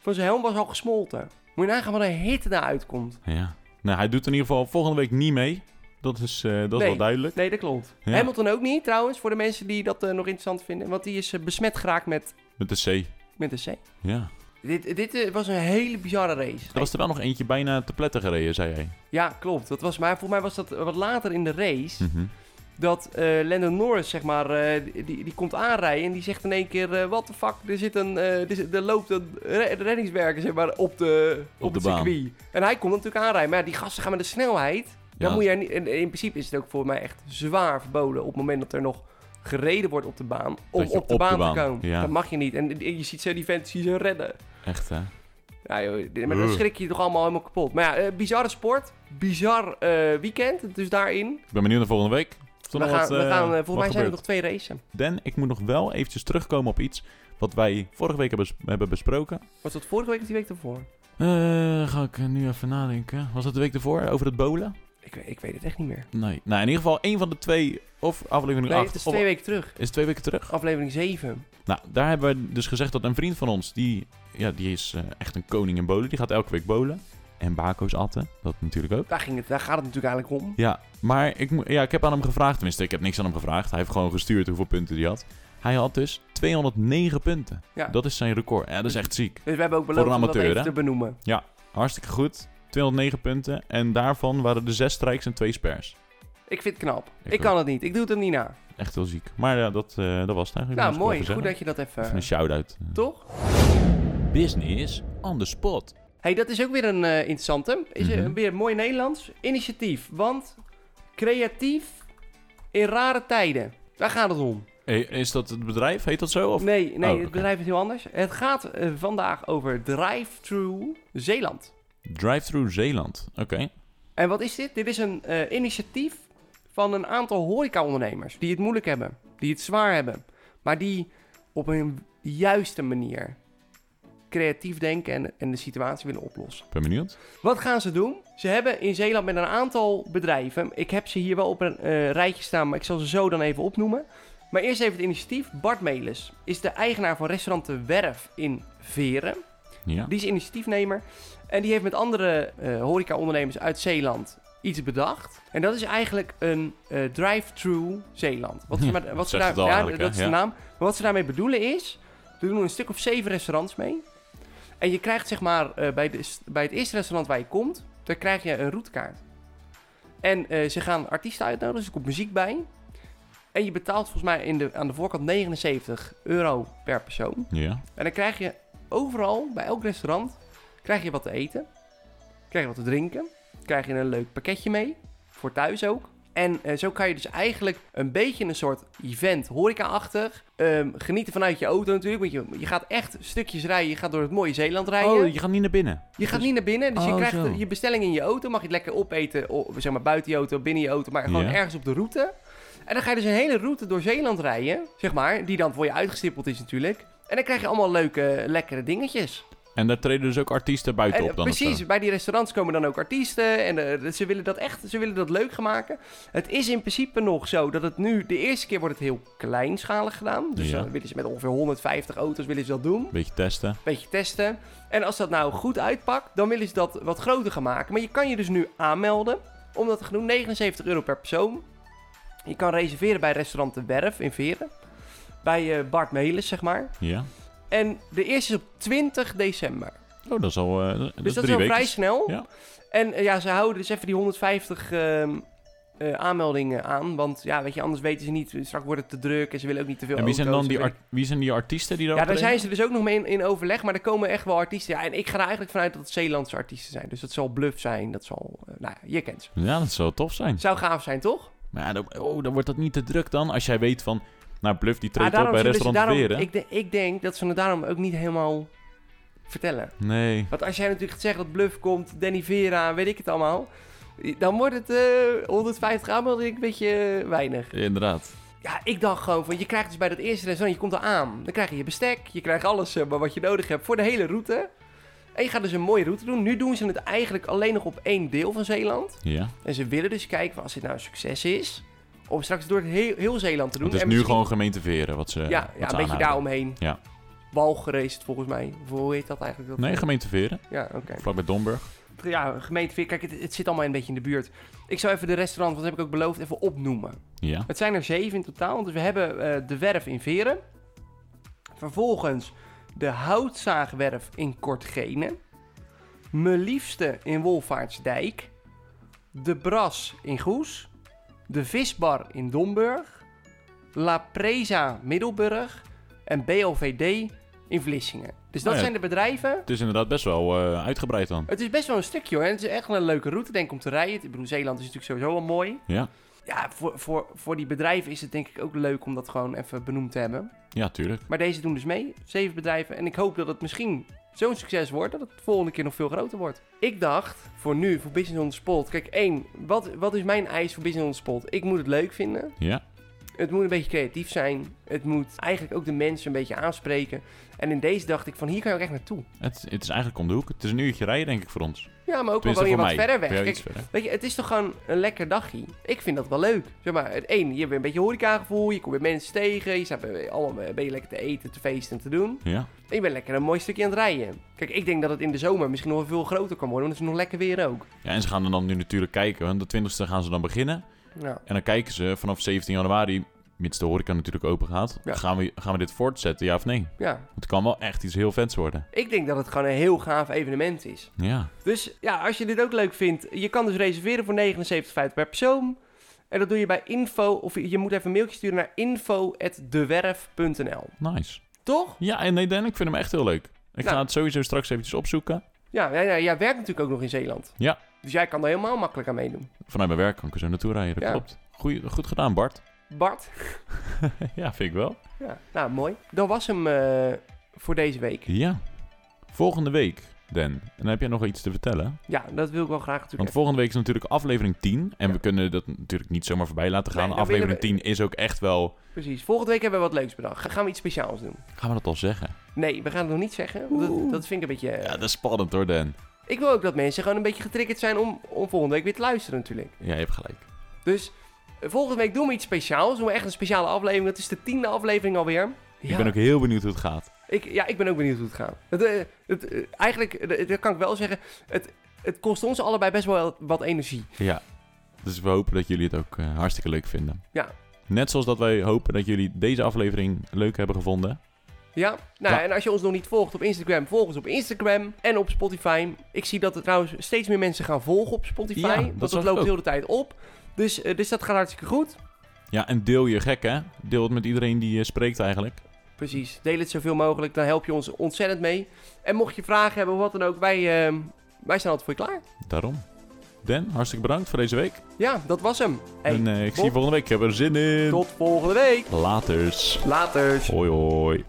van zijn helm was al gesmolten. Moet je nagaan wat een hitte daaruit komt. Ja. Nou, hij doet in ieder geval volgende week niet mee. Dat is, eh, dat is Nee. wel duidelijk. Nee, dat klopt. Ja. Hamilton ook niet, trouwens, voor de mensen die dat eh, nog interessant vinden. Want die is eh, besmet geraakt met, Met de C. met een C. Ja. Dit, dit eh, was een hele bizarre race. Er was er wel nog eentje bijna te pletten gereden, zei hij. Ja, klopt. Dat was, maar volgens mij was dat wat later in de race. Mhm. Dat eh Lando Norris, zeg maar, eh, die, die komt aanrijden. En die zegt in één keer: eh What the fuck, er, zit een, eh, er, zit- er loopt een re- reddingswerker zeg maar, op, de, op, Op de het baan. circuit. En hij komt natuurlijk aanrijden. Maar ja, die gasten gaan met de snelheid. Dan Ja. moet je er niet, in, in principe is het ook voor mij echt zwaar verboden. op het moment dat er nog gereden wordt op de baan. om Dat je op de op de baan, baan, te komen. ja. Dat mag je niet. En, en je ziet zo die vent, zie ze redden. Echt, hè? Ja, joh, dit- maar dan Ugh. schrik je toch allemaal helemaal kapot. Maar ja, eh, bizarre sport, bizar eh, weekend, dus daarin. Ik ben benieuwd naar volgende week. Of er We nog gaan, wat, we eh, gaan, eh, wat volgens mij zijn er gebeurt. nog twee racen. Dan, ik moet nog wel eventjes terugkomen op iets wat wij vorige week hebben, bes- hebben besproken. Was dat vorige week of die week daarvoor? Eh, ga ik eh, nu even nadenken. Was dat de week ervoor? Over het bowlen? Ik, we- ik weet het echt niet meer. Nee. Nou, in ieder geval één van de twee, of aflevering Nee, 8, het is of- twee weken terug. is het twee weken terug. Aflevering 7. Nou, daar hebben we dus gezegd dat een vriend van ons, die, ja, die is eh, echt een koning in bowlen. Die gaat elke week bowlen. En bako's atten, dat natuurlijk ook. Daar, ging het, daar gaat het natuurlijk eigenlijk om. Ja, maar ik, mo- ja, ik heb aan hem gevraagd. Tenminste, ik heb niks aan hem gevraagd. Hij heeft gewoon gestuurd hoeveel punten hij had. Hij had dus 209 punten. Ja. Dat is zijn record. Ja, dat is echt ziek. Dus we hebben ook een beloofd om dat amateur, even hè? te benoemen. Hartstikke goed. 209 punten. En daarvan waren er zes strikes en twee spers. Ik vind het knap. Ik Ik, ook. kan het niet. Ik doe het hem niet na. Echt heel ziek. Maar ja, dat, eh, dat was het eigenlijk. nou, Moest ik wel mooi. even Goed zeggen. dat je dat even... Even een shout-out. Toch? Business on the spot. hey, dat is ook weer een eh, interessante. Is eh, Mhm. weer mooi Nederlands. Initiatief. Want creatief in rare tijden. Daar gaat het om. Hey, is dat het bedrijf? Heet dat zo? Of? Nee, nee Oh, oké. het bedrijf is heel anders. Het gaat eh, vandaag over Drive-Thru Zeeland. Drive-thru Zeeland. Oké. En wat is dit? Dit is een eh, initiatief van een aantal horecaondernemers die het moeilijk hebben, die het zwaar hebben, maar die op een juiste manier creatief denken en, en de situatie willen oplossen. Ben benieuwd. Wat gaan ze doen? Ze hebben in Zeeland met een aantal bedrijven, ik heb ze hier wel op een eh, rijtje staan, maar ik zal ze zo dan even opnoemen. Maar eerst even het initiatief. Bart Melis is de eigenaar van restaurant De Werf in Veren. Ja. Die is initiatiefnemer. En die heeft met andere eh horecaondernemers uit Zeeland iets bedacht. En dat is eigenlijk een eh, drive-thru Zeeland. Wat ze, Ja, maar- Hm. dat wat ze zegt daar, het al ja, eigenlijk, hè? dat is de Ja. naam. Maar wat ze daarmee bedoelen is... Er doen een stuk of zeven restaurants mee. En je krijgt zeg maar eh, bij, de, bij het eerste restaurant waar je komt... Daar krijg je een routekaart. En eh, ze gaan artiesten uitnodigen, dus er komt muziek bij. En je betaalt volgens mij in de, aan de voorkant 79 euro per persoon. Ja. En dan krijg je overal, bij elk restaurant, krijg je wat te eten. Krijg je wat te drinken. Krijg je een leuk pakketje mee. Voor thuis ook. En eh, zo kan je dus eigenlijk een beetje een soort event horeca-achtig. ehm, genieten vanuit je auto natuurlijk. Want je, je gaat echt stukjes rijden. Je gaat door het mooie Zeeland rijden. Oh, je gaat niet naar binnen. Je gaat niet naar binnen, dus je Oh, krijgt zo. je bestelling in je auto. Mag je het lekker opeten, o- zeg maar buiten je auto, binnen je auto, maar gewoon Ja. ergens op de route. En dan ga je dus een hele route door Zeeland rijden, zeg maar, die dan voor je uitgestippeld is natuurlijk. En dan krijg je allemaal leuke, lekkere dingetjes. En daar treden dus ook artiesten buiten En, op dan of zo? precies, bij die restaurants komen dan ook artiesten en eh, ze willen dat echt, ze willen dat leuk gaan maken. Het is in principe nog zo dat het nu, de eerste keer wordt het heel kleinschalig gedaan. Dus Ja. dan willen ze met ongeveer 150 auto's willen ze dat doen Beetje testen. beetje testen. En als dat nou goed uitpakt, dan willen ze dat wat groter gaan maken. Maar je kan je dus nu aanmelden om dat te gaan doen. 79 euro per persoon. Je kan reserveren bij restaurant De Werf in Veren. Bij eh, Bart Melis, zeg maar. Ja. En de eerste is op 20 december. Oh, dat is al eh, dat Dus is dat is drie al weken. vrij snel. Ja. En eh, ja, ze houden dus even die 150 ehm, eh, aanmeldingen aan. Want ja, weet je, anders weten ze niet. Straks wordt het te druk en ze willen ook niet te veel En wie zijn dan auto's. die, Ze willen- art- wie zijn die artiesten die daar ja, daar zijn ze dus ook nog mee in, in overleg, maar er komen echt wel artiesten. Ja, en ik ga er eigenlijk vanuit dat het Zeelandse artiesten zijn. Dus dat zal bluff zijn, dat zal... eh, nou ja, je kent ze. Ja, dat zou tof zijn. Zou gaaf zijn, toch? Maar ja, dan, oh, dan wordt dat niet te druk dan. Als jij weet van, nou Bluff die Maar treedt op bij zullen ze dus- restaurant Ah, daarom, Veren. ik, de- ik denk dat ze het daarom ook niet helemaal vertellen. Nee. Want als jij natuurlijk gaat zeggen dat bluff komt, Danny Vera, weet ik het allemaal... Dan wordt het eh 150 aanmeldingen een beetje eh, weinig. Inderdaad. Ja, ik dacht gewoon van, je krijgt dus bij dat eerste restaurant, je komt er aan. Dan krijg je je bestek, je krijgt alles eh, maar wat je nodig hebt voor de hele route. En je gaat dus een mooie route doen. Nu doen ze het eigenlijk alleen nog op één deel van Zeeland. Ja. En ze willen dus kijken van, als dit nou een succes is, om straks door het heel, heel Zeeland te doen. Het is En nu misschien- gewoon gemeente Veren wat ze Ja, wat ze ja een beetje aanhouden. daaromheen. Ja. Walgeren is het volgens mij. Of Hoe heet dat eigenlijk? Dat Nee, gemeente Veren. ja, oké. Vlakbij Domburg. Ja, gemeenteveer. Kijk, het, het zit allemaal een beetje in de buurt. Ik zou even de restaurant, wat heb ik ook beloofd, even opnoemen. Ja. Het zijn er zeven in totaal. Dus we hebben eh, de werf in Veren. Vervolgens de houtzaagwerf in Kortgene. Mijn liefste in Wolvaartsdijk. De Bras in Goes. De Visbar in Domburg. La Presa Middelburg. En BLVD in Vlissingen. Dus dat Oh ja. zijn de bedrijven. Het is inderdaad best wel eh, uitgebreid dan. Het is best wel een stukje hoor. En het is echt wel een leuke route denk ik om te rijden. Ik bedoel, Zeeland is natuurlijk sowieso wel mooi. Ja. Ja, voor, voor, voor die bedrijven is het denk ik ook leuk om dat gewoon even benoemd te hebben. Ja, tuurlijk. Maar deze doen dus mee, zeven bedrijven. En ik hoop dat het misschien zo'n succes wordt dat het de volgende keer nog veel groter wordt. Ik dacht, voor nu, voor Business on the Spot. Kijk, één, wat, wat is mijn eis voor Business on the Spot? Ik moet het leuk vinden. Ja, Het moet een beetje creatief zijn. Het moet eigenlijk ook de mensen een beetje aanspreken. En in deze dacht ik van, hier kan je ook echt naartoe. het, het is eigenlijk om de hoek. Het is een uurtje rijden, denk ik, voor ons. Ja, maar ook wel Tenminste, weer voor wat mij. verder weg. Voor jou Kijk, iets verder. Weet je, het is toch gewoon een lekker dagje. Ik vind dat wel leuk. Zeg maar, het één, je hebt weer een beetje horecagevoel, je komt weer mensen tegen, je staat bij- allemaal eh, ben je lekker te eten, te feesten en te doen. Ja. En je bent lekker een mooi stukje aan het rijden. Kijk, ik denk dat het in de zomer misschien nog wel veel groter kan worden, want het is nog lekker weer ook. ja, en ze gaan er dan nu natuurlijk kijken. want De 20 e gaan ze dan beginnen. Nou, En dan kijken ze vanaf 17 januari, mits de horeca natuurlijk open gaat, Ja. gaan, we, gaan we dit voortzetten, ja of nee? ja. Want het kan wel echt iets heel vets worden. Ik denk dat het gewoon een heel gaaf evenement is. Ja, Dus ja, als je dit ook leuk vindt, je kan dus reserveren voor 79,50 per persoon. En dat doe je bij info, of je je moet even een mailtje sturen naar info.dewerf.nl. nice. Toch? Ja, en nee, Dan, ik vind hem echt heel leuk. Ik Nou. ga het sowieso straks eventjes opzoeken. Ja, ja, ja, jij werkt natuurlijk ook nog in Zeeland. Ja. Dus jij kan er helemaal makkelijk aan meedoen. Vanuit mijn werk kan ik er zo naartoe rijden, dat Ja. klopt. Goeie, goed gedaan, Bart. Bart? ja, vind ik wel. Ja, nou mooi. Dat was hem eh, voor deze week. Ja. Volgende week, Dan. En dan heb jij nog iets te vertellen. Ja, dat wil ik wel graag natuurlijk. Want volgende week is natuurlijk aflevering 10. En Ja. we kunnen dat natuurlijk niet zomaar voorbij laten gaan. Nee, dan aflevering willen 10 is ook echt wel... even- Precies. Volgende week hebben we wat leuks bedacht. Ga- gaan we iets speciaals doen? Gaan we dat al zeggen? Nee, we gaan het nog niet zeggen. want Dat, dat vind ik een beetje... eh, Ja, dat is spannend hoor, Dan. Ik wil ook dat mensen gewoon een beetje getriggerd zijn om, om volgende week weer te luisteren natuurlijk. Ja, je hebt gelijk. Dus eh, volgende week doen we iets speciaals. Doen we echt een speciale aflevering. Dat is de tiende aflevering alweer. Ja. Ik ben ook heel benieuwd hoe het gaat. Ik, ja, ik ben ook benieuwd hoe het gaat. Het, eh, het, eh, eigenlijk, eh, dat kan ik wel zeggen, het, het kost ons allebei best wel wat energie. Ja. Dus we hopen dat jullie het ook eh, hartstikke leuk vinden. Ja. Net zoals dat wij hopen dat jullie deze aflevering leuk hebben gevonden. Ja? Nou, Ja. en als je ons nog niet volgt op Instagram, volg ons op Instagram en op Spotify. Ik zie dat er trouwens steeds meer mensen gaan volgen op Spotify. Ja, dat want dat zag ik loopt ook. heel de tijd op. Dus, eh, dus dat gaat hartstikke goed. Ja, en deel je gek, hè? Deel het met iedereen die eh, spreekt eigenlijk. Precies. Deel het zoveel mogelijk, dan help je ons ontzettend mee. En mocht je vragen hebben of wat dan ook, wij, eh, wij zijn altijd voor je klaar. Daarom. Dan, hartstikke bedankt voor deze week. Ja, dat was hem. Hey, en eh, ik zie Bob, je volgende week. Ik heb er zin in. Tot volgende week. Laters. Later. Hoi hoi.